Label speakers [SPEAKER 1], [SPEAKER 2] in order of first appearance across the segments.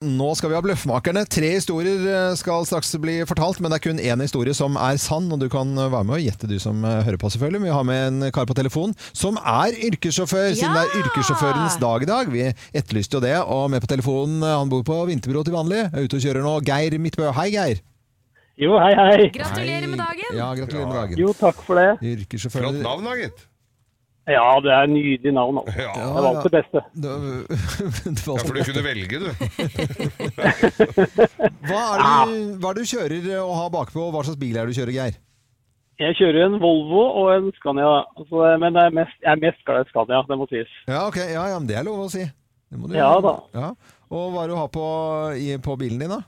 [SPEAKER 1] Nå skal vi ha Bløffmakerne. Tre historier eh, skal straks bli fortalt, men det er kun én historie som er sann, og du kan eh, være med og gjette, du som eh, hører på, selvfølgelig. Vi har med en kar på telefon som er yrkessjåfør, siden det er
[SPEAKER 2] Ja!
[SPEAKER 1] yrkessjåførens dag i dag. Vi etterlyste jo det, og med på telefonen, eh, han bor på Vinterbro til vanlig, er ute og kjører nå, Geir Midtbø. Hei, Geir.
[SPEAKER 3] Jo, hei, hei.
[SPEAKER 2] Gratulerer med dagen!
[SPEAKER 1] Ja, gratulerer med dagen.
[SPEAKER 3] Jo, takk for det.
[SPEAKER 1] Yrkessjåfør.
[SPEAKER 4] Flott navn da, gitt.
[SPEAKER 3] Ja, det er nydelig navn. Altså.
[SPEAKER 4] Ja.
[SPEAKER 3] Jeg valgte det beste.
[SPEAKER 1] Det var- det var
[SPEAKER 4] Ja, for du
[SPEAKER 1] sånn.
[SPEAKER 4] kunne velge, du.
[SPEAKER 1] Hva er det
[SPEAKER 3] Ah.
[SPEAKER 1] du, hva er det du kjører og har bakpå, og hva slags bil er det du kjører, Geir?
[SPEAKER 3] Jeg kjører en Volvo og en Scania, da. Så, eh, men jeg er mest, jeg er mest glad i Scania, det må sies.
[SPEAKER 1] Ja, ok. Ja, ja, men det er lov å si. Det må du
[SPEAKER 3] Ja da.
[SPEAKER 1] Ja. Og hva er det du har på, i, på bilen din, da?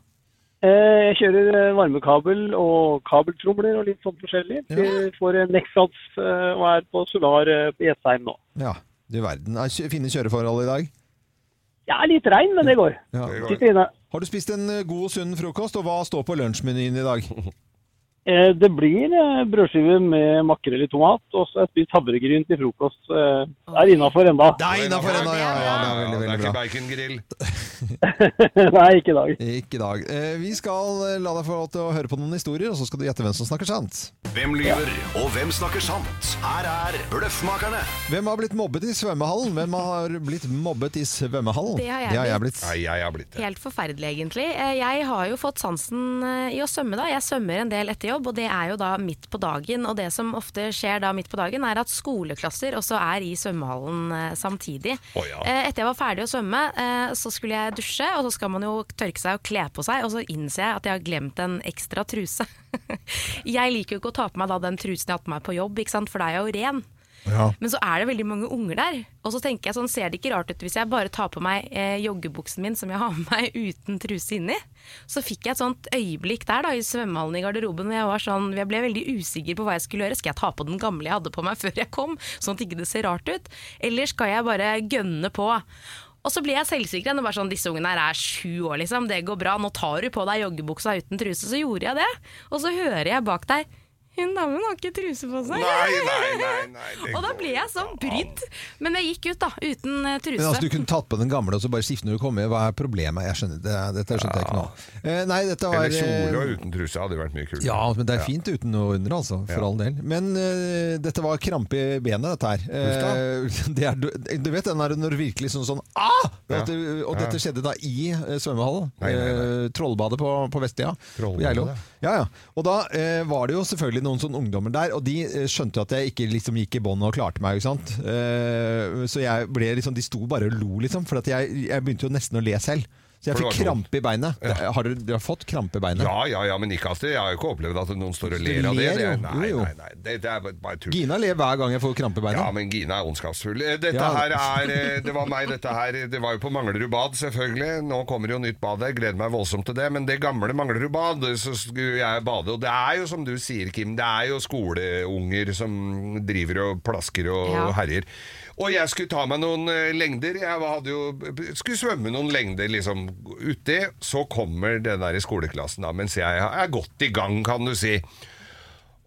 [SPEAKER 3] Eh, Jeg kjører eh, varmekabel og kabeltromler og litt sånn forskjellig. Vi får en Nexans eh, og er på Solar eh, på Jessheim nå.
[SPEAKER 1] Ja, du verden. Er kjø- Fine kjøreforhold i dag.
[SPEAKER 3] Jeg er litt rein, men det går.
[SPEAKER 1] Ja.
[SPEAKER 4] Det går.
[SPEAKER 3] Sitter inne.
[SPEAKER 1] Har du spist en eh, god, sunn frokost, og hva står på lunsjmenyen i dag?
[SPEAKER 3] Eh, Det blir eh, brødskive med makrell i tomat, og så har jeg spist havregryn til frokost. eh, Det er innafor enda.
[SPEAKER 1] Det er innafor ennå, ja, ja. Det er veldig,
[SPEAKER 4] det er
[SPEAKER 1] veldig
[SPEAKER 4] ikke
[SPEAKER 1] bra.
[SPEAKER 4] bacongrill.
[SPEAKER 3] Nei, ikke i dag.
[SPEAKER 1] Ikke i dag. Eh, Vi skal eh, la deg få lov til å høre på noen historier, og så skal du gjette hvem som snakker sant.
[SPEAKER 5] Hvem lyver, og hvem snakker sant? Her er Bløffmakerne.
[SPEAKER 1] Hvem har blitt mobbet i svømmehallen? Hvem har blitt mobbet i svømmehallen?
[SPEAKER 2] Det har jeg
[SPEAKER 1] blitt.
[SPEAKER 4] Nei, jeg har blitt det.
[SPEAKER 2] Helt forferdelig, egentlig. Eh, Jeg har jo fått sansen eh, i å svømme, da. Jeg svømmer en del etter jobb, og det er jo da midt på dagen. Og det som ofte skjer da midt på dagen, er at skoleklasser også er i svømmehallen eh, samtidig.
[SPEAKER 4] Å ja.
[SPEAKER 2] Eh, Etter jeg var ferdig å svømme, eh, så skulle jeg dusje, og så skal man jo tørke seg og kle på seg, og så innser jeg at jeg har glemt en ekstra truse. jeg liker jo ikke å ta på meg da den trusen jeg har hatt på meg på jobb, ikke sant, for da er jeg jo ren. Men så er det veldig mange unger der. Og så tenker jeg sånn, ser det ikke rart ut hvis jeg bare tar på meg eh, joggebuksen min som jeg har med meg uten truse inni? Så fikk jeg et sånt øyeblikk der da, i svømmehallen i garderoben hvor jeg var sånn, jeg ble veldig usikker på hva jeg skulle gjøre. Skal jeg ta på den gamle jeg hadde på meg før jeg kom, sånn at ikke det ser rart ut? Eller skal jeg bare gønne på? Og så blir jeg selvsikker igjen og bare sånn, disse ungene her er sju år liksom, det går bra, nå tar du på deg joggebuksa uten truse, så gjorde jeg det. Og så hører jeg bak der, hun damen har ikke truse på seg.
[SPEAKER 4] Nei, nei, nei, nei. det
[SPEAKER 2] Og da
[SPEAKER 4] går
[SPEAKER 2] ble jeg så
[SPEAKER 4] ikke an.
[SPEAKER 2] brydd. Men jeg gikk ut, da, uten eh, truse.
[SPEAKER 1] Men altså, Du kunne tatt på den gamle og så bare skifte når du kommer. Hva er problemet? Jeg skjønner, det, dette skjønte jeg ikke nå. Eh, Nei, dette var
[SPEAKER 4] Eller
[SPEAKER 1] eh,
[SPEAKER 4] kjole og uten truse hadde vært mye kult.
[SPEAKER 1] Ja, men det er fint uten noe under, altså. For all del. Men eh, dette var krampe i benet, dette her. Eh, det er, du, du vet den der når du virkelig sånn sånn ah! At du, og dette skjedde da i eh, svømmehallen.
[SPEAKER 4] Nei, nei, nei.
[SPEAKER 1] Eh, Trollbadet på, på Vestlia.
[SPEAKER 4] Trollbadet,
[SPEAKER 1] På Geilo.
[SPEAKER 4] ja.
[SPEAKER 1] Ja, ja. Og da eh, var det jo selvfølgelig noen sånne ungdommer der, og de eh, skjønte jo at jeg ikke liksom gikk i bånd og klarte meg, ikke sant. Eh, så jeg ble liksom De sto bare og lo, liksom. For at jeg, jeg begynte jo nesten å le selv. Så jeg
[SPEAKER 4] For
[SPEAKER 1] fikk
[SPEAKER 4] det var tungt.
[SPEAKER 1] krampe i beinet. Det- Har du, du har fått krampe i beinet?
[SPEAKER 4] Ja, ja, ja, men ikke Astrid. Jeg har jo ikke opplevd at noen står og
[SPEAKER 1] Du
[SPEAKER 4] ler av det.
[SPEAKER 1] ler
[SPEAKER 4] det
[SPEAKER 1] jo.
[SPEAKER 4] er, nei,
[SPEAKER 1] Jo, jo.
[SPEAKER 4] nei, nei. Det, det er bare tull.
[SPEAKER 1] Gina ler hver gang jeg får krampe i beina.
[SPEAKER 4] Ja, men Gina er ondskapsfull. Eh, Dette
[SPEAKER 1] Ja.
[SPEAKER 4] her er eh, Det var meg, dette her. Det var jo på Manglerud bad, selvfølgelig. Nå kommer jo nytt bad der. Gleder meg voldsomt til det. Men det gamle Manglerud bad, så skulle jeg bade. Og det er jo som du sier, Kim, det er jo skoleunger som driver og plasker og
[SPEAKER 2] Ja.
[SPEAKER 4] herjer. Og jeg skulle ta meg noen eh, lengder. Jeg hadde jo, skulle svømme noen lengder liksom uti. Så kommer den der skoleklassen, da, mens jeg er godt i gang, kan du si.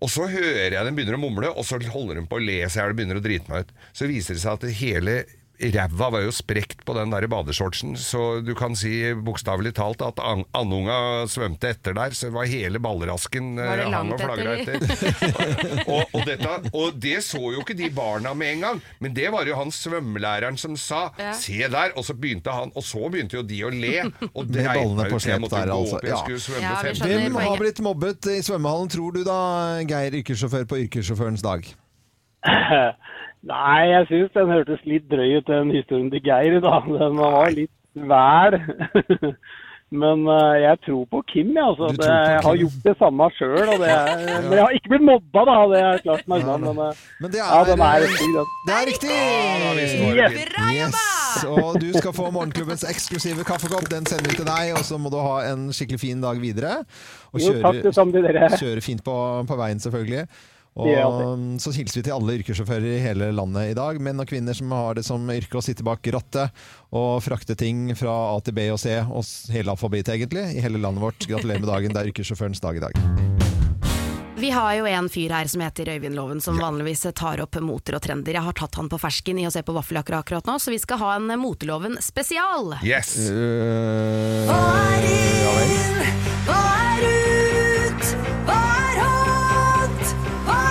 [SPEAKER 4] Og så hører jeg den begynner å mumle, og så holder hun på å le så jeg begynner å drite meg ut. Så viser det seg at hele ræva var jo sprekt på den der badeshortsen, så du kan si bokstavelig talt at an- andunga svømte etter der, så det var hele ballrasken
[SPEAKER 2] Var det
[SPEAKER 4] eh, hang
[SPEAKER 2] langt
[SPEAKER 4] og flagra
[SPEAKER 2] etter?
[SPEAKER 4] etter. og, og, dette, og det så jo ikke de barna med en gang, men det var jo han svømmelæreren som sa
[SPEAKER 2] Ja.
[SPEAKER 4] 'se der', og så begynte han, og så begynte jo de å le. Og
[SPEAKER 1] Med
[SPEAKER 4] dreit
[SPEAKER 1] ballene
[SPEAKER 4] meg
[SPEAKER 1] på
[SPEAKER 4] ut, så jeg
[SPEAKER 1] slep
[SPEAKER 4] måtte
[SPEAKER 1] der,
[SPEAKER 4] gå
[SPEAKER 1] altså.
[SPEAKER 4] opp, jeg
[SPEAKER 1] Ja.
[SPEAKER 4] skulle svømme
[SPEAKER 2] Ja, vi
[SPEAKER 4] 15
[SPEAKER 2] skjønner.
[SPEAKER 1] Hvem har blitt mobbet i svømmehallen, tror du da, Geir yrkessjåfør på yrkessjåførens dag?
[SPEAKER 3] Nei, jeg syns den hørtes litt drøy ut, den historien til Geir. da. Den var litt væl. Men eh, jeg tror på Kim, jeg. Altså.
[SPEAKER 1] Du tror
[SPEAKER 3] Det,
[SPEAKER 1] på
[SPEAKER 3] jeg har
[SPEAKER 1] Kim.
[SPEAKER 3] gjort det samme sjøl. og det er- Men jeg har ikke blitt mobba, da. Det har jeg klart meg unna. Men eh,
[SPEAKER 1] Men det er,
[SPEAKER 3] ja, den er stygg, den.
[SPEAKER 1] det er riktig!
[SPEAKER 4] Yes.
[SPEAKER 2] Bra
[SPEAKER 1] Yes.
[SPEAKER 2] jobba!
[SPEAKER 1] Og du skal få morgenklubbens eksklusive kaffekopp. Den sender vi til deg, og så må du ha en skikkelig fin dag videre. Og
[SPEAKER 3] Jo, takk det samme til dere.
[SPEAKER 1] kjøre fint på, på veien, selvfølgelig. Og
[SPEAKER 3] Det gjør
[SPEAKER 1] um, så hilser vi til alle yrkessjåfører i hele landet i dag. Menn og kvinner som har det som yrke å sitte bak rattet og frakte ting fra A til B og C, og s- hele alfabetet egentlig, i hele landet vårt. Gratulerer med dagen. Det er yrkessjåførens dag i dag.
[SPEAKER 2] Vi har jo en fyr her som heter Øyvind Loven, som vanligvis eh, tar opp moter og trender. Jeg har tatt han på fersken i å se på vaffeljakker akkurat nå, så vi skal ha en eh, Moteloven spesial.
[SPEAKER 4] Yes!
[SPEAKER 1] Eh, Øh,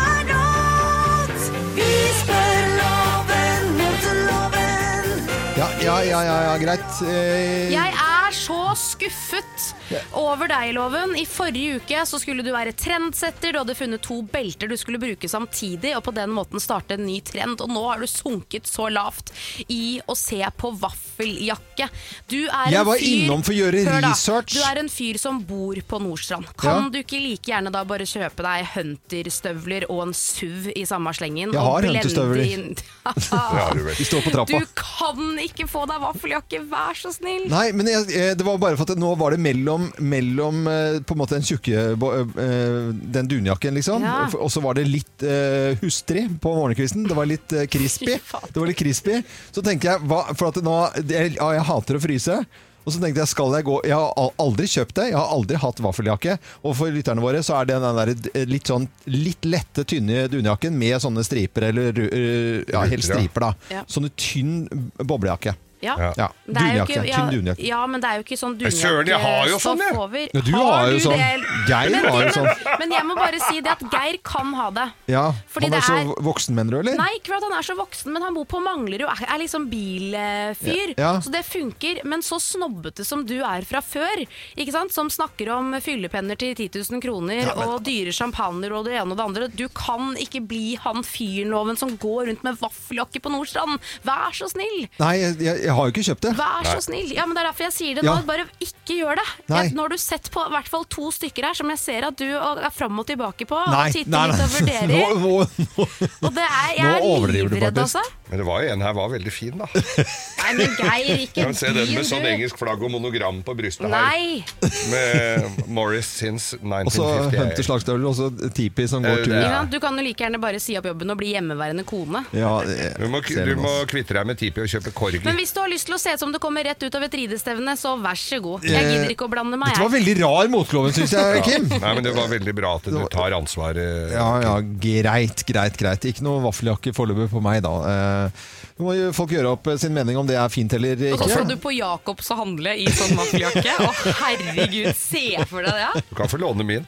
[SPEAKER 1] ja, ja, ja, ja, ja, greit. Eh,
[SPEAKER 2] Jeg er så skuffet over deg, Loven. I forrige uke så skulle du være trendsetter. Du hadde funnet to belter du skulle bruke samtidig, og på den måten starte en ny trend. Og nå har du sunket så lavt i å se på vaffeljakke. Du er
[SPEAKER 1] Jeg
[SPEAKER 2] en
[SPEAKER 1] var
[SPEAKER 2] fyr,
[SPEAKER 1] innom for å gjøre
[SPEAKER 2] Hør da,
[SPEAKER 1] research.
[SPEAKER 2] Du er en fyr som bor på Nordstrand.
[SPEAKER 1] Ja.
[SPEAKER 2] Kan du ikke like gjerne da bare kjøpe deg hunterstøvler og en SUV i samme slengen?
[SPEAKER 1] Jeg
[SPEAKER 2] og
[SPEAKER 1] har
[SPEAKER 2] blende
[SPEAKER 1] hunterstøvler.
[SPEAKER 2] inn-
[SPEAKER 4] Ja, du vet.
[SPEAKER 1] de står på trappa.
[SPEAKER 2] Du kan ikke få deg vaffeljakke, vær så snill!
[SPEAKER 1] Nei, men jeg, eh, det var bare for at nå var det mellom, mellom eh, på en måte den tjukke bo- eh, Den dunjakken, liksom.
[SPEAKER 2] Ja.
[SPEAKER 1] Og så var det litt eh, hustrig på morgenkvisten. Det var litt eh, crispy. Det var litt crispy. Så tenkte jeg hva, For at nå det, ja, Jeg hater å fryse. Og så tenkte jeg, skal jeg gå Jeg har al- aldri kjøpt det. Jeg har aldri hatt vaffeljakke. Og for lytterne våre så er det den der eh, litt sånn litt lette, tynne dunjakken med sånne striper, eller ru- eh, ja, helt
[SPEAKER 4] Ruter, ja.
[SPEAKER 1] striper, da.
[SPEAKER 2] Ja.
[SPEAKER 1] Sånn tynn boblejakke.
[SPEAKER 2] Ja.
[SPEAKER 1] Ja.
[SPEAKER 2] Det er jo
[SPEAKER 1] Dunjakke.
[SPEAKER 2] ikke-
[SPEAKER 1] Tynn dunjakke.
[SPEAKER 2] Ja, ja, men det er jo ikke sånn
[SPEAKER 4] Nei, søren, jeg har jo
[SPEAKER 2] dunjakkestoff
[SPEAKER 4] sånn, jeg.
[SPEAKER 2] over.
[SPEAKER 1] Ja, du har jo
[SPEAKER 2] du
[SPEAKER 1] sånn.
[SPEAKER 2] det?
[SPEAKER 1] Jeg
[SPEAKER 2] men,
[SPEAKER 1] har jo sånn.
[SPEAKER 2] Men jeg må bare si det at Geir kan ha det.
[SPEAKER 1] Ja,
[SPEAKER 2] Fordi
[SPEAKER 1] han er,
[SPEAKER 2] det er-
[SPEAKER 1] så voksen, mener du, eller?
[SPEAKER 2] Nei, ikke for at han er så voksen, men han bor på Manglerud, er, er liksom bilfyr.
[SPEAKER 1] Ja.
[SPEAKER 2] Så det funker. Men så snobbete som du er fra før, ikke sant? som snakker om fyllepenner til 10 000 kroner og dyre champagner og det ene og det andre. Du kan ikke bli han fyren, Loven, som går rundt med vaffeljakke på Nordstrand. Vær så snill!
[SPEAKER 1] Nei, jeg, jeg har jo ikke kjøpt det.
[SPEAKER 2] Vær så snill. Ja, men Det er derfor jeg sier det
[SPEAKER 1] Ja.
[SPEAKER 2] nå. Bare ikke gjør det.
[SPEAKER 1] Nei.
[SPEAKER 2] Jeg, nå har du sett på i hvert fall to stykker her som jeg ser at du er fram og tilbake på.
[SPEAKER 1] Nei,
[SPEAKER 2] og titter litt og
[SPEAKER 1] Nå,
[SPEAKER 2] vurderer.
[SPEAKER 1] nå, nå.
[SPEAKER 2] Og det er,
[SPEAKER 1] Nå
[SPEAKER 2] jeg er
[SPEAKER 1] overdriver du
[SPEAKER 2] livredd,
[SPEAKER 1] faktisk.
[SPEAKER 2] altså.
[SPEAKER 4] Men det var jo en her var veldig fin, da.
[SPEAKER 2] Nei, men Geir, ikke
[SPEAKER 4] Kan se den med sånn
[SPEAKER 2] driv, du.
[SPEAKER 4] engelsk flagg og monogram på brystet her.
[SPEAKER 2] Nei.
[SPEAKER 4] Med Morris since
[SPEAKER 1] Og så
[SPEAKER 4] 1958.
[SPEAKER 1] Hunter slagstøvler og så Tipi som går
[SPEAKER 4] Eh,
[SPEAKER 1] tur.
[SPEAKER 4] det
[SPEAKER 2] Ja, du kan jo like gjerne bare si opp jobben og bli hjemmeværende kone.
[SPEAKER 1] Ja, jeg
[SPEAKER 4] Du må,
[SPEAKER 1] ser
[SPEAKER 4] du
[SPEAKER 1] den
[SPEAKER 4] må
[SPEAKER 1] også.
[SPEAKER 4] kvitte deg med Tipi og kjøpe
[SPEAKER 2] Men
[SPEAKER 4] Korgi.
[SPEAKER 2] hvis du har lyst til å se ut som du kommer rett ut av et ridestevne, så vær så god.
[SPEAKER 1] Eh,
[SPEAKER 2] Jeg gidder ikke å blande meg.
[SPEAKER 1] Dette var
[SPEAKER 2] jeg.
[SPEAKER 1] veldig rar motloven, syns jeg, Kim.
[SPEAKER 4] Nei, men det var veldig bra at du tar ansvar. eh.
[SPEAKER 1] Ja, ja, greit, greit, greit. Ikke noe vaffeljakke foreløpig på meg, da. Eh, Nå må jo folk gjøre opp eh, sin mening om det er fint eller
[SPEAKER 2] Og så skal du
[SPEAKER 1] ikke.
[SPEAKER 2] på Jacobs og handle i sånn vaffeljakke. Å herregud, se for deg det! ja.
[SPEAKER 4] Du kan få låne min.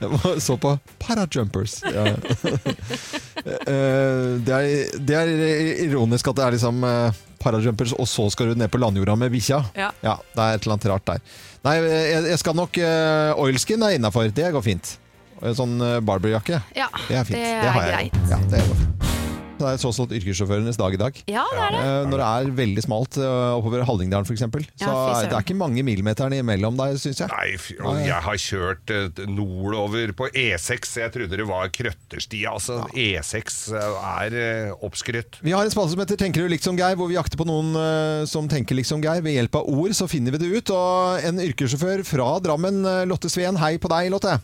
[SPEAKER 1] Jeg må Så på parajumpers. Ja. Eh, det, er, det er ironisk at det er liksom eh, parajumpers, og så skal du ned på landjorda med bikkja.
[SPEAKER 2] Ja.
[SPEAKER 1] det er et eller annet rart der. Nei, jeg, jeg skal nok eh, Oilskin er innafor. Det går fint. Eh, Sånn eh, Barber-jakke.
[SPEAKER 2] Ja,
[SPEAKER 1] Det er fint.
[SPEAKER 2] det
[SPEAKER 1] har
[SPEAKER 2] er
[SPEAKER 1] jeg. Ja, det går fint. Det er tross alt yrkessjåførenes dag i dag.
[SPEAKER 2] Ja, det er det.
[SPEAKER 1] Eh, når det er veldig smalt eh, oppover Hallingdalen f.eks., så
[SPEAKER 2] Ja, fy søren.
[SPEAKER 1] det er ikke mange millimeterne imellom der, syns jeg.
[SPEAKER 4] Nei, fy- og jeg har kjørt eh, nordover på E6. Jeg trodde det var krøtterstia. Altså, E6 er eh, oppskrytt.
[SPEAKER 1] Vi har en spalte som heter 'Tenker du likt som Geir', hvor vi jakter på noen eh, som tenker likt som Geir. Ved hjelp av ord så finner vi det ut. Og en yrkessjåfør fra Drammen, eh, Lotte Sveen, hei på deg, Lotte.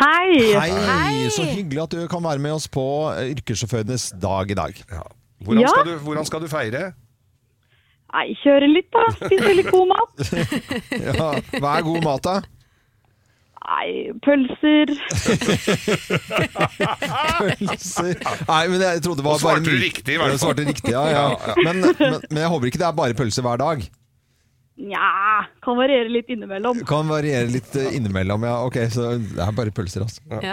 [SPEAKER 6] Hei!
[SPEAKER 1] Hei. Så hyggelig at du kan være med oss på eh, yrkessjåførenes dag i dag.
[SPEAKER 4] Ja. Hvordan,
[SPEAKER 6] Ja.
[SPEAKER 4] skal du, hvordan skal du feire?
[SPEAKER 6] Nei, kjøre litt, da. Spise litt god mat.
[SPEAKER 1] Ja, hva er god mat, da?
[SPEAKER 6] Nei, pølser.
[SPEAKER 1] Pølser Nei, men jeg trodde det var
[SPEAKER 4] Og svarte
[SPEAKER 1] bare
[SPEAKER 4] du riktig, i hvert fall.
[SPEAKER 1] Svarte riktig, ja, ja. Men, men, men jeg håper ikke det er bare pølser hver dag.
[SPEAKER 6] Nja, kan variere litt innimellom.
[SPEAKER 1] Kan variere litt eh, innimellom, ja. Ok, så det er bare pølser, altså.
[SPEAKER 2] Ja, ja,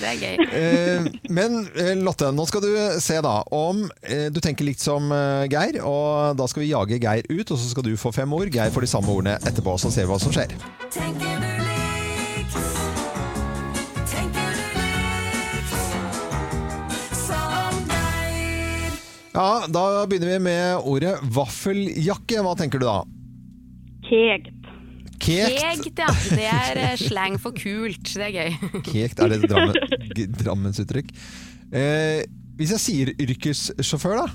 [SPEAKER 2] det er gøy.
[SPEAKER 1] Eh, men eh, Lotte, nå skal du se da om eh, du tenker likt som eh, Geir, og da skal vi jage Geir ut, og så skal du få fem ord. Geir får de samme ordene etterpå, så ser vi hva som skjer.
[SPEAKER 7] Tenker du likt? Tenker du likt? Som Geir.
[SPEAKER 1] Ja, Da begynner vi med ordet vaffeljakke. Hva tenker du da?
[SPEAKER 6] Kegt.
[SPEAKER 1] Kekt?
[SPEAKER 2] Kegt, ja. Det er eh, slang for kult. Det er gøy.
[SPEAKER 1] Kekt er det et Drammen, g- Drammensuttrykk. Eh, hvis jeg sier yrkessjåfør, da?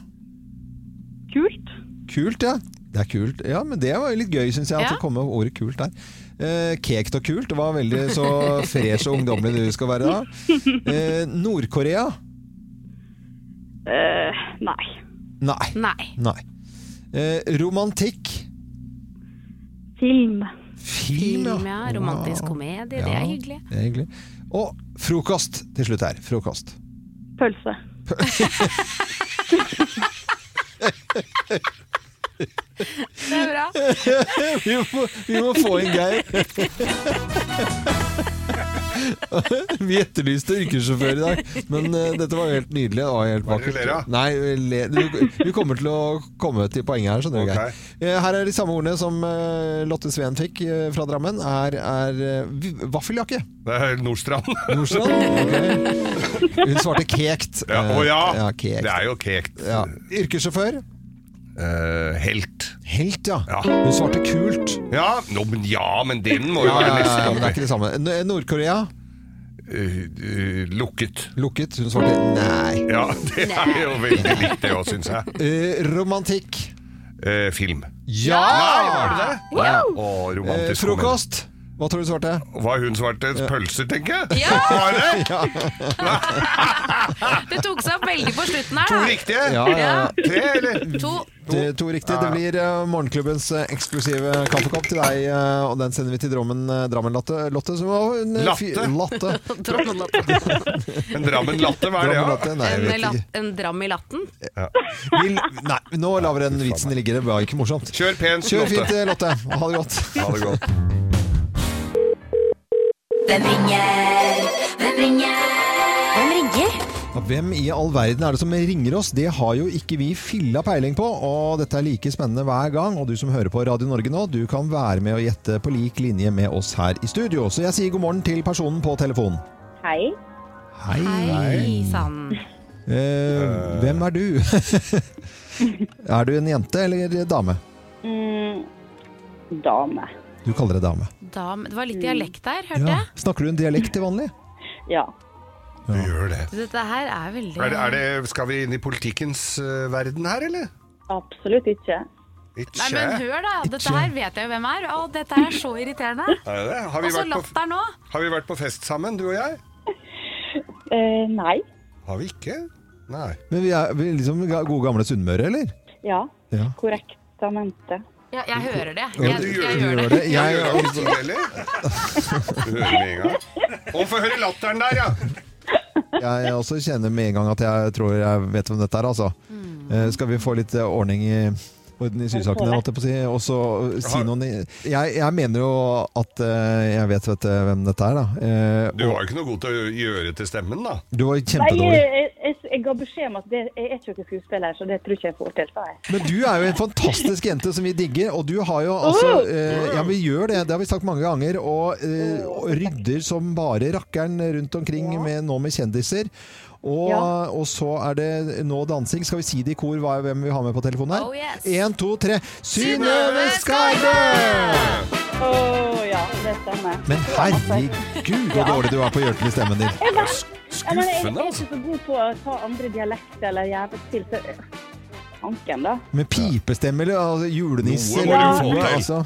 [SPEAKER 6] Kult.
[SPEAKER 1] Kult, ja. Det er kult. Ja, men det var jo litt gøy, syns jeg. At
[SPEAKER 2] Ja.
[SPEAKER 1] det kom med ordet kult der. Eh, kekt og kult. Det var veldig så fresh og ungdommelig du skal være da. Eh, Nord-Korea?
[SPEAKER 6] Eh, nei.
[SPEAKER 1] Nei.
[SPEAKER 2] Nei.
[SPEAKER 1] Nei. Eh, romantikk?
[SPEAKER 6] Film.
[SPEAKER 1] Film,
[SPEAKER 8] Film, ja. Romantisk
[SPEAKER 1] Ja.
[SPEAKER 8] komedie. Det
[SPEAKER 1] Ja,
[SPEAKER 8] er hyggelig.
[SPEAKER 1] det er hyggelig. Og frokost til slutt her. Frokost.
[SPEAKER 6] Pølse.
[SPEAKER 8] Det er bra.
[SPEAKER 1] Vi må, vi må få inn Geir. Vi etterlyste yrkessjåfør i dag, men eh, dette var jo helt nydelig. Det var helt
[SPEAKER 4] Hva er det
[SPEAKER 1] vakkert.
[SPEAKER 4] du ler av?
[SPEAKER 1] Nei, le, du, du kommer til å komme til poenget her, skjønner du,
[SPEAKER 4] Ok.
[SPEAKER 1] Geir. Eh, Her er de samme ordene som eh, Lotte Sveen fikk eh, fra Drammen. Her er eh, vi- vaffeljakke.
[SPEAKER 4] Det er Nordstrand.
[SPEAKER 1] Nordstrand. ok. Hun svarte kekt.
[SPEAKER 4] Ja,
[SPEAKER 1] Eh,
[SPEAKER 4] å ja.
[SPEAKER 1] ja,
[SPEAKER 4] Det
[SPEAKER 1] kekt.
[SPEAKER 4] er jo kekt.
[SPEAKER 1] Ja. Yrkessjåfør.
[SPEAKER 4] Eh, helt.
[SPEAKER 1] Helt, ja.
[SPEAKER 4] Ja.
[SPEAKER 1] Hun svarte kult.
[SPEAKER 4] Ja, nå, men, ja, men den må jo
[SPEAKER 1] Ja,
[SPEAKER 4] være
[SPEAKER 1] ja, ja, men det er
[SPEAKER 4] nesten
[SPEAKER 1] ikke det samme. N- Nord-Korea.
[SPEAKER 4] oppi. Eh, eh, lukket.
[SPEAKER 1] Lukket. Hun svarte nei.
[SPEAKER 4] Ja, det er jo veldig likt det òg, syns jeg.
[SPEAKER 1] Eh, romantikk.
[SPEAKER 4] Eh, film.
[SPEAKER 1] Ja!
[SPEAKER 4] Nei, var det det?
[SPEAKER 1] Ja.
[SPEAKER 4] Å,
[SPEAKER 1] Eh,
[SPEAKER 4] romantisk
[SPEAKER 1] frokost. Hva tror du svarte?
[SPEAKER 4] komedie. Hva hun svarte? Pølser, tenker jeg? Ja! Var det?
[SPEAKER 8] Det tok seg opp veldig på slutten her.
[SPEAKER 4] To
[SPEAKER 8] da.
[SPEAKER 4] riktige?
[SPEAKER 1] Ja, ja.
[SPEAKER 4] Tre, eller?
[SPEAKER 8] To.
[SPEAKER 1] Det, to riktig. Det blir eh, morgenklubbens eh, eksklusive kaffekopp til deg, eh, og den sender vi til Drammen, eh, Drammen Latte. Lotte, som var en, eh, fy-
[SPEAKER 4] Latte?
[SPEAKER 1] Latte.
[SPEAKER 4] En Drammen Latte, hva er det?
[SPEAKER 1] Drammen
[SPEAKER 4] Ja?
[SPEAKER 1] Latte. Nei, jeg
[SPEAKER 8] En,
[SPEAKER 1] vet
[SPEAKER 8] latt,
[SPEAKER 1] ikke.
[SPEAKER 8] en dram i latten.
[SPEAKER 1] Vi, nei, nå lar vi den vitsen ligge. Det var ikke morsomt.
[SPEAKER 4] Kjør pent,
[SPEAKER 1] Kjør
[SPEAKER 4] Lotte.
[SPEAKER 1] fint, eh, Lotte. Ha det godt.
[SPEAKER 4] Ha det godt.
[SPEAKER 7] Hvem ringer? Hvem ringer? Hvem ringer?
[SPEAKER 1] Ja, Hvem i all verden er det som ringer oss? Det har jo ikke vi filla peiling på, og dette er like spennende hver gang. Og du som hører på Radio Norge nå, du kan være med og gjette på lik linje med oss her i studio. Så jeg sier god morgen til personen på telefonen.
[SPEAKER 6] Hei.
[SPEAKER 1] Hei.
[SPEAKER 8] Hei sann.
[SPEAKER 1] Eh, hvem er du? er du en jente eller dame?
[SPEAKER 6] Mm, dame.
[SPEAKER 1] Du kaller deg dame.
[SPEAKER 8] Dam. Det var litt dialekt der, hørte jeg.
[SPEAKER 1] Snakker du en dialekt til vanlig?
[SPEAKER 6] Ja.
[SPEAKER 4] Du gjør det.
[SPEAKER 8] Dette her er veldig
[SPEAKER 4] Er det, er det skal vi inn i politikkens eh, verden her, eller?
[SPEAKER 6] Absolutt ikke.
[SPEAKER 4] Ikke.
[SPEAKER 8] Nei, men hør, da. Dette her vet jeg jo hvem er. Å, dette er så irriterende.
[SPEAKER 4] Er det det? Har,
[SPEAKER 8] Og
[SPEAKER 4] vi
[SPEAKER 8] så
[SPEAKER 4] vært på,
[SPEAKER 8] latter nå.
[SPEAKER 4] har vi vært på fest sammen, du og jeg?
[SPEAKER 6] Eh, nei.
[SPEAKER 4] Har vi ikke? Nei.
[SPEAKER 1] Men vi er vi er liksom ga- gode gamle Sunnmøre, eller?
[SPEAKER 6] Ja.
[SPEAKER 1] Ja.
[SPEAKER 6] Korrektamente.
[SPEAKER 8] Ja, jeg hører det. Jeg,
[SPEAKER 4] du
[SPEAKER 8] jeg,
[SPEAKER 4] gjør
[SPEAKER 8] gjør det.
[SPEAKER 1] Gjør det.
[SPEAKER 4] Jeg
[SPEAKER 1] Jeg,
[SPEAKER 4] gjør det ikke heller. Du hører med en gang. Å, få høre latteren der, ja!
[SPEAKER 1] Jeg også kjenner med en gang at jeg tror jeg vet hvem dette er, altså.
[SPEAKER 8] Mm.
[SPEAKER 1] Eh, skal vi få litt eh, ordning i orden i sysakene, holdt jeg på å si, og så eh, si
[SPEAKER 4] Har-
[SPEAKER 1] noen i- jeg, jeg mener jo at eh, jeg vet, vet eh, hvem dette er, da. Eh,
[SPEAKER 4] Du var jo ikke noe god til å gjøre til stemmen, da.
[SPEAKER 1] du var
[SPEAKER 6] Nei,
[SPEAKER 1] kjempedårlig.
[SPEAKER 6] jeg, jeg, jeg ga beskjed om at det, jeg er ikke noen skuespiller, så det tror ikke jeg får til. sa jeg.
[SPEAKER 1] Men du er jo en fantastisk jente som vi digger, og du har jo altså
[SPEAKER 6] Oh!
[SPEAKER 1] eh, Ja, vi gjør det, det har vi sagt mange ganger, og, eh, og rydder som bare rakkeren rundt omkring med, nå med kjendiser. Og,
[SPEAKER 6] Ja.
[SPEAKER 1] og så er det nå dansing. Skal vi si det i kor hva, hvem vi har med på telefonen her?
[SPEAKER 8] Oh, yes.
[SPEAKER 1] En, to, tre. Synnøve Skarve!
[SPEAKER 6] Å ja, det stemmer.
[SPEAKER 1] Men herregud, så dårlig du er på å gjøre til stemmen din.
[SPEAKER 6] Jeg vet- jeg mener, jeg, jeg
[SPEAKER 4] Skuffende,
[SPEAKER 6] er
[SPEAKER 4] altså.
[SPEAKER 6] ikke så god på å ta andre dialekter eller jævelstil, så tanken, da.
[SPEAKER 1] Med pipestemme eller altså, julenisse
[SPEAKER 4] Noe må du
[SPEAKER 1] eller
[SPEAKER 4] få
[SPEAKER 1] noe.
[SPEAKER 4] til.
[SPEAKER 1] Altså.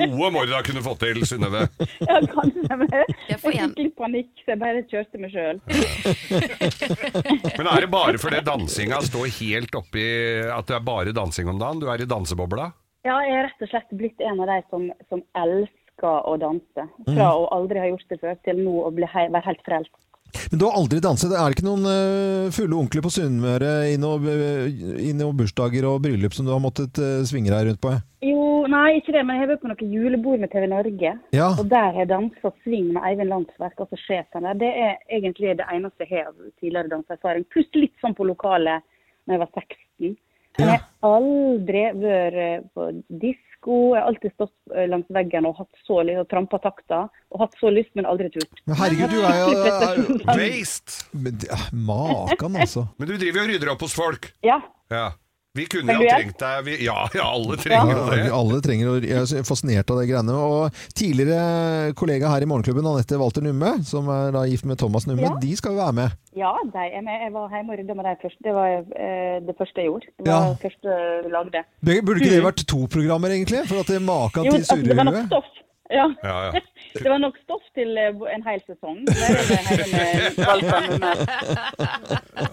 [SPEAKER 4] Noe må du da kunne få til, Synnøve.
[SPEAKER 6] Ja, kanskje, men jeg
[SPEAKER 8] får en-
[SPEAKER 6] fikk litt panikk, så jeg bare kjørte meg sjøl.
[SPEAKER 4] Men er det bare fordi dansinga står helt oppi at det er bare dansing om dagen? Du er i dansebobla?
[SPEAKER 6] Ja, jeg er rett og slett blitt en av de som, som elsker å danse. Fra
[SPEAKER 1] Mm.
[SPEAKER 6] å aldri ha gjort det før, til nå å bli he være helt frelst.
[SPEAKER 1] Men du har aldri danset. Er det ikke noen eh, fulle onkler på Sunnmøre i noen bursdager og bryllup som du har måttet eh, svinge deg rundt på?
[SPEAKER 6] Jo, nei, ikke det, men jeg har vært på noe julebord med TV Norge.
[SPEAKER 1] Ja.
[SPEAKER 6] Og der har jeg dansa sving med Eivind Landsverk, altså sjefen der. Det er egentlig det eneste jeg har av tidligere danseerfaring. Pluss litt sånn på lokalet når jeg var 16. Men
[SPEAKER 1] Ja.
[SPEAKER 6] jeg har aldri vært eh, på disko. Jeg har alltid stått eh, langs veggen og hatt så lyst, og trampa takta. Og hatt så lyst, men aldri turt.
[SPEAKER 1] Men herregud, du er jo er,
[SPEAKER 6] Prestasjon.
[SPEAKER 4] Waste!
[SPEAKER 1] men det- ah, Makan, altså.
[SPEAKER 4] Men du driver jo og rydder opp hos folk.
[SPEAKER 6] Ja.
[SPEAKER 4] Ja. Vi kunne
[SPEAKER 6] Men du
[SPEAKER 4] jo ha
[SPEAKER 6] er-
[SPEAKER 4] trengt deg vi, Ja, ja, alle trenger jo det.
[SPEAKER 1] Alle trenger å Jeg er så fascinert av de greiene. Og tidligere kollega her i Morgenklubben, Anette Walter Numme, som er da gift med Thomas Numme,
[SPEAKER 6] Ja.
[SPEAKER 1] de skal jo være med.
[SPEAKER 6] Ja, de er med. Jeg var hjemme og rydda med dem først. Det var eh, det første jeg gjorde. Det var
[SPEAKER 1] Ja.
[SPEAKER 6] det første vi lagde.
[SPEAKER 1] Burde ikke det vært to programmer, egentlig? For at det er
[SPEAKER 6] Mm.
[SPEAKER 1] Makan
[SPEAKER 6] Jo,
[SPEAKER 1] til
[SPEAKER 6] altså, det var nok
[SPEAKER 1] surrehue.
[SPEAKER 6] stoff. Ja.
[SPEAKER 4] Ja, ja.
[SPEAKER 6] Det var nok stoff til eh, bo- en hel sesong. Det er det her med valgkampen der.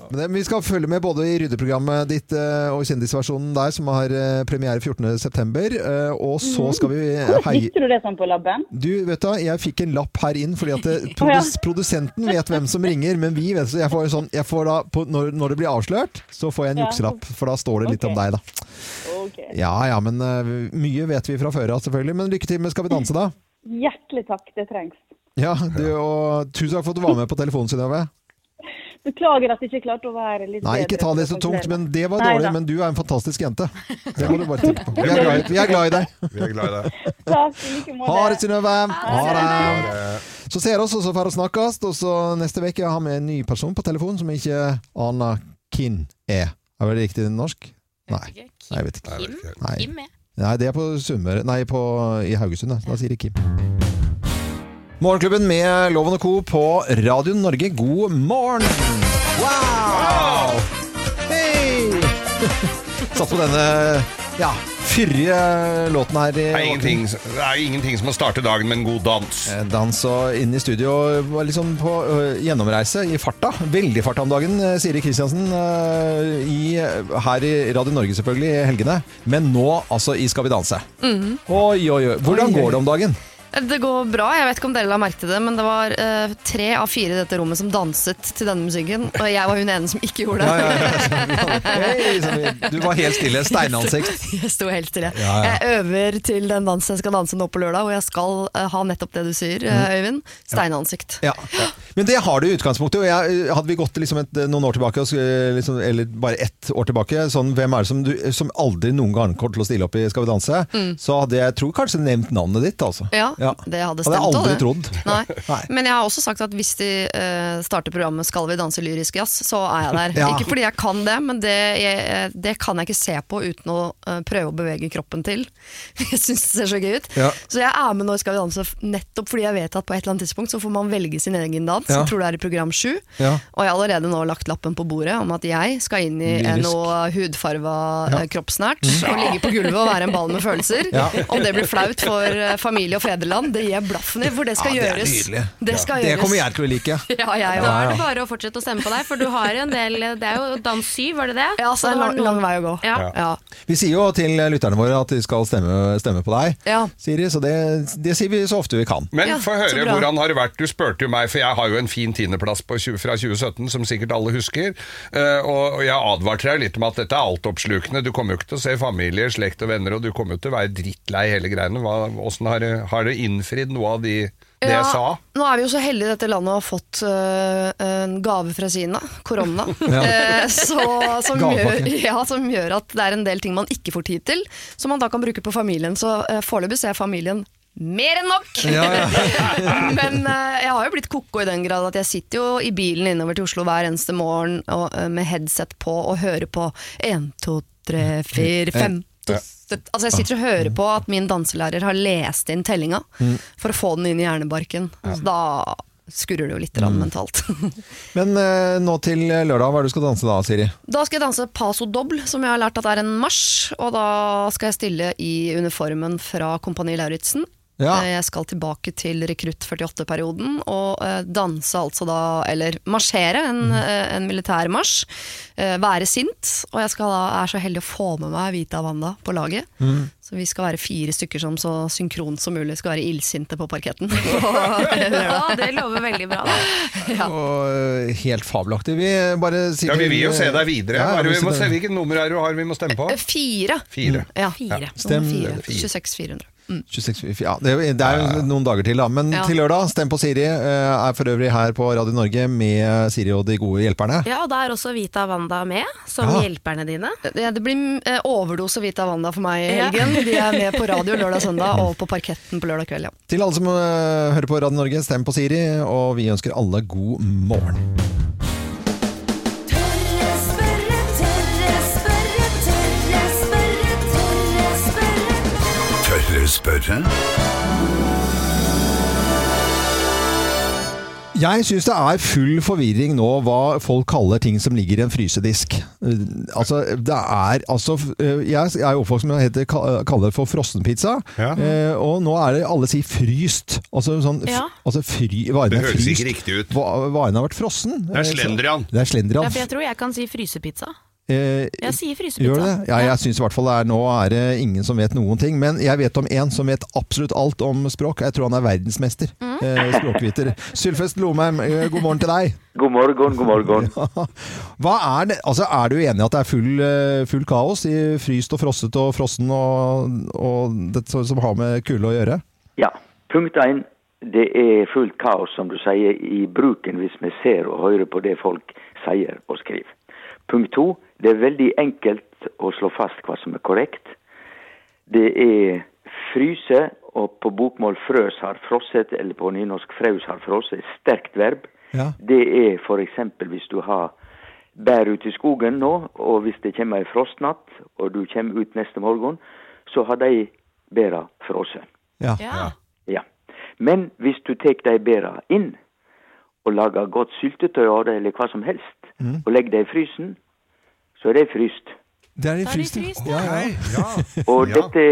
[SPEAKER 1] Men det- vi skal følge med både i ryddeprogrammet ditt eh, og kjendisversjonen der, som har eh, premiere 14.9. eh, Og
[SPEAKER 6] Mhm.
[SPEAKER 1] så skal vi eh, heie
[SPEAKER 6] Visste du det sånn på labben?
[SPEAKER 1] Du, vet du, jeg fikk en lapp her inn, fordi at det,
[SPEAKER 6] Å, ja.
[SPEAKER 1] produs, produsenten vet hvem som ringer, men vi vet så jeg får jo sånn, jeg får da, på, når, når det blir avslørt, så får jeg en
[SPEAKER 6] Ja.
[SPEAKER 1] jukselapp, for da står det litt om
[SPEAKER 6] Ok.
[SPEAKER 1] deg, da.
[SPEAKER 6] Ok.
[SPEAKER 1] Ja, ja, men eh, mye vet vi fra før av, selvfølgelig. Men lykke til med Skal vi danse, da.
[SPEAKER 6] Hjertelig takk, det trengs.
[SPEAKER 1] Ja, du, og tusen takk for at du var med på telefonen, Synnøve.
[SPEAKER 6] Beklager at jeg ikke klarte å være litt
[SPEAKER 1] Nei, ikke ta det så tungt, men det var dårlig. Men du er en fantastisk jente. Det må du bare tenke på. Vi er glad i, vi er glad i deg.
[SPEAKER 4] Vi er glad i deg.
[SPEAKER 6] Takk, i like måte.
[SPEAKER 1] Ha det, Synnøve! Ha det!
[SPEAKER 4] Ha det.
[SPEAKER 1] Så ser oss, og så får vi snakkes. Og så neste uke har vi en ny person på telefonen som jeg ikke aner hvem er. Er det riktig norsk? Nei. Nei, jeg vet ikke.
[SPEAKER 4] Nei, det er ikke-
[SPEAKER 1] Nei,
[SPEAKER 8] Kim er.
[SPEAKER 1] Nei det er på Sunnmøre Nei, på, i Haugesund. Da. da sier det Kim. Morgenklubben med Loven og Co. på Radio Norge, god morgen! Wow! Hei! Satt på denne ja, fyrige låten her. i
[SPEAKER 4] Det er ingenting, det er ingenting som å starte dagen med en god dans.
[SPEAKER 1] Eh, Dans og inn i studio var liksom på ø, gjennomreise i farta. Veldig farta om dagen, eh, Siri Kristiansen. eh, i, her i Radio Norge selvfølgelig i helgene. Men nå altså i Skal vi danse. Oi, oi, oi. Hvordan går det om dagen?
[SPEAKER 8] Mm. Det går bra. Jeg vet ikke om dere la merke til det, men det var eh, tre av fire i dette rommet som danset til denne musikken, og jeg var hun ene som ikke gjorde det.
[SPEAKER 1] Hei, så vi- du var helt stille. Steinansikt.
[SPEAKER 8] Jeg sto helt stille.
[SPEAKER 1] Ja, ja.
[SPEAKER 8] Jeg øver til den dansen jeg skal danse nå på lørdag, og jeg skal eh, ha nettopp det du sier, eh, Øyvind. Steinansikt.
[SPEAKER 1] Mm. Ja. Men det har du i utgangspunktet. Og jeg, hadde vi gått liksom et, noen år tilbake, og skulle liksom, eller bare ett år tilbake sånn, Hvem er det som, du, som aldri noen gang kommer til å stille opp i Skal vi danse?
[SPEAKER 8] Mm.
[SPEAKER 1] Så hadde jeg tror kanskje nevnt navnet ditt, altså.
[SPEAKER 8] Ja,
[SPEAKER 1] Ja.
[SPEAKER 8] det hadde
[SPEAKER 1] Hadde
[SPEAKER 8] stemt.
[SPEAKER 1] jeg
[SPEAKER 8] også,
[SPEAKER 1] aldri
[SPEAKER 8] det.
[SPEAKER 1] trodd.
[SPEAKER 8] Nei.
[SPEAKER 1] Nei.
[SPEAKER 8] Men jeg har også sagt at hvis de eh, starter programmet 'Skal vi danse lyrisk jazz', så er jeg der.
[SPEAKER 1] Ja.
[SPEAKER 8] Ikke fordi jeg kan det, men det, jeg, eh, det kan jeg ikke se på uten å eh, prøve å bevege kroppen til. Jeg syns det ser så gøy ut.
[SPEAKER 1] Ja.
[SPEAKER 8] Så jeg er med når 'Skal vi danse' f- nettopp fordi jeg vet at på et eller annet tidspunkt så får man velge sin egen dans.
[SPEAKER 1] Ja.
[SPEAKER 8] Jeg tror det er i program sju.
[SPEAKER 1] Ja.
[SPEAKER 8] Og jeg har allerede nå lagt lappen på bordet om at jeg skal inn i
[SPEAKER 1] Lyrisk. Mm.
[SPEAKER 8] noe hudfarva eh, kropp snart. Og ligge på gulvet og være en ball med følelser.
[SPEAKER 1] Ja.
[SPEAKER 8] Om det blir flaut for eh, familie og fedreland, det gir jeg blaffen i, for det skal
[SPEAKER 1] Ja, det er
[SPEAKER 8] gjøres.
[SPEAKER 1] nydelig.
[SPEAKER 8] Det skal
[SPEAKER 1] Det
[SPEAKER 8] gjøres.
[SPEAKER 1] kommer jeg til å like.
[SPEAKER 8] Ja, jeg òg.
[SPEAKER 2] Da er det bare å fortsette å stemme på deg, for du har en del Det er jo dans syv, var det det?
[SPEAKER 8] Ja, så det er
[SPEAKER 2] Og
[SPEAKER 8] lang,
[SPEAKER 2] du har
[SPEAKER 8] lang
[SPEAKER 2] noen-
[SPEAKER 8] vei å gå.
[SPEAKER 2] Ja.
[SPEAKER 8] Ja.
[SPEAKER 1] Vi sier jo til lytterne våre at de skal stemme, stemme på deg,
[SPEAKER 8] Ja.
[SPEAKER 1] Siri, så det, det sier vi så ofte vi kan.
[SPEAKER 4] Men
[SPEAKER 8] Ja,
[SPEAKER 4] få
[SPEAKER 8] så
[SPEAKER 4] høre,
[SPEAKER 8] bra.
[SPEAKER 4] hvordan har det vært? Du spurte jo meg, for jeg har jo en fin tiendeplass på 20, fra 2017, som sikkert alle husker. Eh, og, og jeg advarte deg jo litt om at dette er altoppslukende. Du kommer jo ikke til å se familie, slekt og venner, og du kommer jo til å være drittlei hele greiene. Hva, hvordan har, det- har det innfridd noe av de, det
[SPEAKER 8] Ja,
[SPEAKER 4] jeg sa?
[SPEAKER 8] Nå er vi jo så heldige i dette landet å ha fått øh, en gave fra Kina, korona. Eh, så, som, gjør,
[SPEAKER 1] Gavepakke.
[SPEAKER 8] ja, som gjør at det er en del ting man ikke får tid til, som man da kan bruke på familien. Så uh, foreløpig ser jeg familien mer enn nok! Men eh, jeg har jo blitt koko i den grad at jeg sitter jo i bilen innover til Oslo hver eneste morgen og, eh, med headset på og hører på 1, 2, 3,
[SPEAKER 7] Eh,
[SPEAKER 1] Eh,
[SPEAKER 8] 4, 5 Altså Jeg sitter og hører på at min danselærer har lest inn tellinga for å få den inn i hjernebarken. Så da skurrer det jo litt
[SPEAKER 1] Mm.
[SPEAKER 8] rann mentalt.
[SPEAKER 1] Men eh, nå til lørdag, hva er det du skal danse da, Siri?
[SPEAKER 8] Da skal jeg danse paso doble, som jeg har lært at er en marsj. Og da skal jeg stille i uniformen fra Kompani Lauritzen.
[SPEAKER 1] Ja.
[SPEAKER 8] Eh, Jeg skal tilbake til rekrutt 48-perioden og eh, danse altså da, eller marsjere, en, eh, en militær marsj. Eh, være sint. Og jeg skal da, er så heldig å få med meg Vita Wanda på laget. Så vi skal være fire stykker som så synkront som mulig skal være illsinte på parketten.
[SPEAKER 2] Ja, det lover veldig bra. Da.
[SPEAKER 1] Og, eh, helt fabelaktig. Vi bare sier
[SPEAKER 4] Ja, vi vil jo se deg videre.
[SPEAKER 1] Ja,
[SPEAKER 4] Hva er det
[SPEAKER 1] vi
[SPEAKER 4] vi må
[SPEAKER 1] sitter-
[SPEAKER 4] se hvilket nummer er det du har vi må stemme på.
[SPEAKER 8] Eh, Fire!
[SPEAKER 4] Fire.
[SPEAKER 8] Ja.
[SPEAKER 2] Fire.
[SPEAKER 1] Stem-
[SPEAKER 8] Nummer fire.
[SPEAKER 1] fire.
[SPEAKER 8] 26 400.
[SPEAKER 1] 26, ja, det, er jo- det er jo noen dager til, da. Men
[SPEAKER 8] Ja.
[SPEAKER 1] til lørdag, stem på Siri. eh, er for øvrig her på Radio Norge med Siri og de gode hjelperne.
[SPEAKER 2] Ja, og da er også Vita Wanda med, som
[SPEAKER 1] Ja.
[SPEAKER 2] hjelperne dine.
[SPEAKER 8] Ja, det blir eh, overdose Vita Wanda for meg i
[SPEAKER 2] Ja.
[SPEAKER 8] helgen. De er med på radio lørdag og søndag, og på parketten på lørdag kveld. Ja.
[SPEAKER 1] Til alle som eh, hører på Radio Norge, stem på Siri, og vi ønsker alle god morgen.
[SPEAKER 7] Tørre spørre, tørre spørre, tørre spørre, tørre spørre.
[SPEAKER 5] Tørre spørre?
[SPEAKER 1] Jeg syns det er full forvirring nå hva folk kaller ting som ligger i en frysedisk. Eh, Altså, det er altså eh, Jeg er jo oppvokst med å hete- ka- kalle det for frossenpizza.
[SPEAKER 4] Ja.
[SPEAKER 1] eh, Og nå er det alle sier fryst. Altså sånn f-
[SPEAKER 8] Ja.
[SPEAKER 1] altså fry, varene
[SPEAKER 4] Det
[SPEAKER 1] er
[SPEAKER 4] høres
[SPEAKER 1] fryst.
[SPEAKER 4] ikke riktig ut.
[SPEAKER 1] Va- Varene har vært frossen.
[SPEAKER 4] Det er
[SPEAKER 1] Eh, så-
[SPEAKER 4] slendrian.
[SPEAKER 1] Det er slendrian.
[SPEAKER 8] Ja, for jeg tror jeg kan si frysepizza.
[SPEAKER 1] Eh,
[SPEAKER 8] Jeg sier frysepizza.
[SPEAKER 1] Gjør du det? Ja, jeg syns i hvert fall det er, nå er det ingen som vet noen ting. Men jeg vet om en som vet absolutt alt om språk. Jeg tror han er verdensmester.
[SPEAKER 8] Mm.
[SPEAKER 1] Eh, språkviter. Sylfest Lomheim, eh, god morgen til deg.
[SPEAKER 9] God morgen, god morgen.
[SPEAKER 1] Hva er, det? Altså, er du enig i at det er full, eh, full kaos i fryst og frosset og frossen og, og det som har med kulde å gjøre?
[SPEAKER 9] Ja, punkt én. Det er fullt kaos, som du sier, i bruken hvis vi ser og hører på det folk sier og skriver. Punkt to. Det er veldig enkelt å slå fast hva som er korrekt. Det er fryse, og på bokmål frøs har frosset, eller på nynorsk fraus har frosset, et sterkt verb.
[SPEAKER 1] Ja.
[SPEAKER 9] Det er f.eks. hvis du har bær ute i skogen nå, og hvis det kommer ei frostnatt, og du kommer ut neste morgen, så har de bæra frosset.
[SPEAKER 1] Ja.
[SPEAKER 8] Ja.
[SPEAKER 9] Ja. Men hvis du tar de bæra inn og lager godt syltetøy av det, eller hva som helst, og legger det i frysen, så er det fryst.
[SPEAKER 1] Det er i
[SPEAKER 8] Da er det
[SPEAKER 1] fryst,
[SPEAKER 8] fryst,
[SPEAKER 1] ja. ja.
[SPEAKER 4] Nei, ja.
[SPEAKER 9] Og
[SPEAKER 4] Ja.
[SPEAKER 9] dette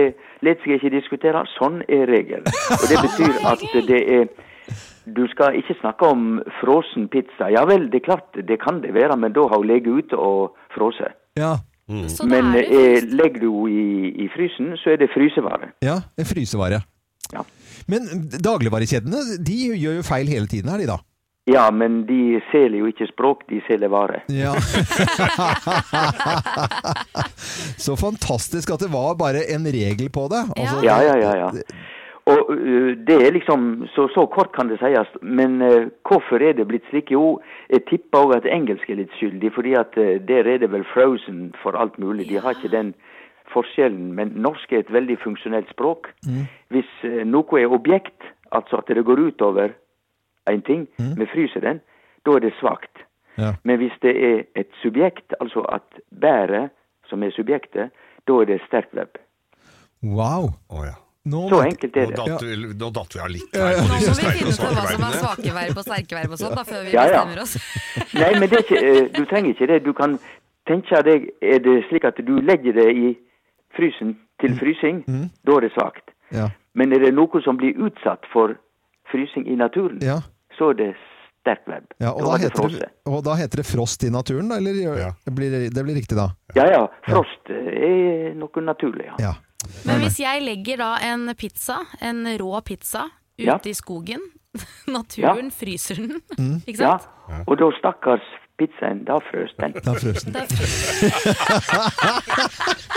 [SPEAKER 9] lar seg ikke diskutere. Sånn er regelen. Og det betyr at det er Du skal ikke snakke om frossen pizza. Ja vel, det er klart, det kan det være, men da har hun ligget ute og frosset.
[SPEAKER 1] Ja.
[SPEAKER 4] Mm.
[SPEAKER 8] Så da
[SPEAKER 9] Men
[SPEAKER 8] er det
[SPEAKER 9] eh,
[SPEAKER 8] fryst.
[SPEAKER 9] legger du henne i, i frysen, så er det frysevare.
[SPEAKER 1] ja. En frysevare.
[SPEAKER 9] Ja.
[SPEAKER 1] Men dagligvarekjedene de gjør jo feil hele tiden, er de da?
[SPEAKER 9] Ja, men de selger jo ikke språk, de selger vare.
[SPEAKER 1] Ja. så fantastisk at det var bare en regel på det. Altså,
[SPEAKER 9] Ja, ja, ja. ja. Og ø, det er liksom, så, så kort kan det sies, men ø, hvorfor er det blitt slik? Jo, jeg tipper også at engelsk er litt skyldig, fordi at ø, der er det vel frozen for alt mulig. De har ikke den forskjellen, men norsk er et veldig funksjonelt språk.
[SPEAKER 1] Mm.
[SPEAKER 9] Hvis ø, noe er objekt, altså at det går utover en ting,
[SPEAKER 1] Mhm.
[SPEAKER 9] vi fryser den, da er det svakt.
[SPEAKER 1] Ja.
[SPEAKER 9] Men hvis det er et subjekt, altså at bæret som er subjektet, da er det sterkt verb.
[SPEAKER 1] Wow!
[SPEAKER 4] Å, ja.
[SPEAKER 1] Nå,
[SPEAKER 9] Så enkelt er
[SPEAKER 4] Nå
[SPEAKER 9] det.
[SPEAKER 4] datt, vi- nå datt vi av litt her på
[SPEAKER 8] Nå må vi
[SPEAKER 4] disse
[SPEAKER 8] finne
[SPEAKER 4] sterke og
[SPEAKER 8] ut
[SPEAKER 4] svake
[SPEAKER 8] hva som er
[SPEAKER 4] verdenene.
[SPEAKER 8] svake verb og sterke verb og sånn, da, før vi
[SPEAKER 9] Ja, ja.
[SPEAKER 8] bestemmer oss.
[SPEAKER 9] Nei, men det er ikke, eh, du trenger ikke det. Du kan tenke deg Er det slik at du legger det i frysen til
[SPEAKER 4] Mm.
[SPEAKER 9] frysing? Da er det svakt.
[SPEAKER 1] ja,
[SPEAKER 9] Men er det noe som blir utsatt for frysing i naturen,
[SPEAKER 1] ja,
[SPEAKER 9] så er det sterkt verb.
[SPEAKER 1] ja. Og,
[SPEAKER 9] Da
[SPEAKER 1] da
[SPEAKER 9] er det
[SPEAKER 1] heter det,
[SPEAKER 9] frosset.
[SPEAKER 1] og da heter det frost i naturen, da? Eller gjør-
[SPEAKER 4] Ja.
[SPEAKER 1] det, blir, det blir riktig da?
[SPEAKER 9] Ja ja, frost eh, er noe naturlig, ja.
[SPEAKER 1] Ja.
[SPEAKER 8] Men hvis jeg legger da en pizza, en rå pizza, ute
[SPEAKER 9] Ja. Mm.
[SPEAKER 8] i skogen Naturen fryser den,
[SPEAKER 1] Mm.
[SPEAKER 8] ikke
[SPEAKER 9] ja.
[SPEAKER 8] sant?
[SPEAKER 9] Og da stakkars pizzaen, da frøs den.
[SPEAKER 1] Da frøs den.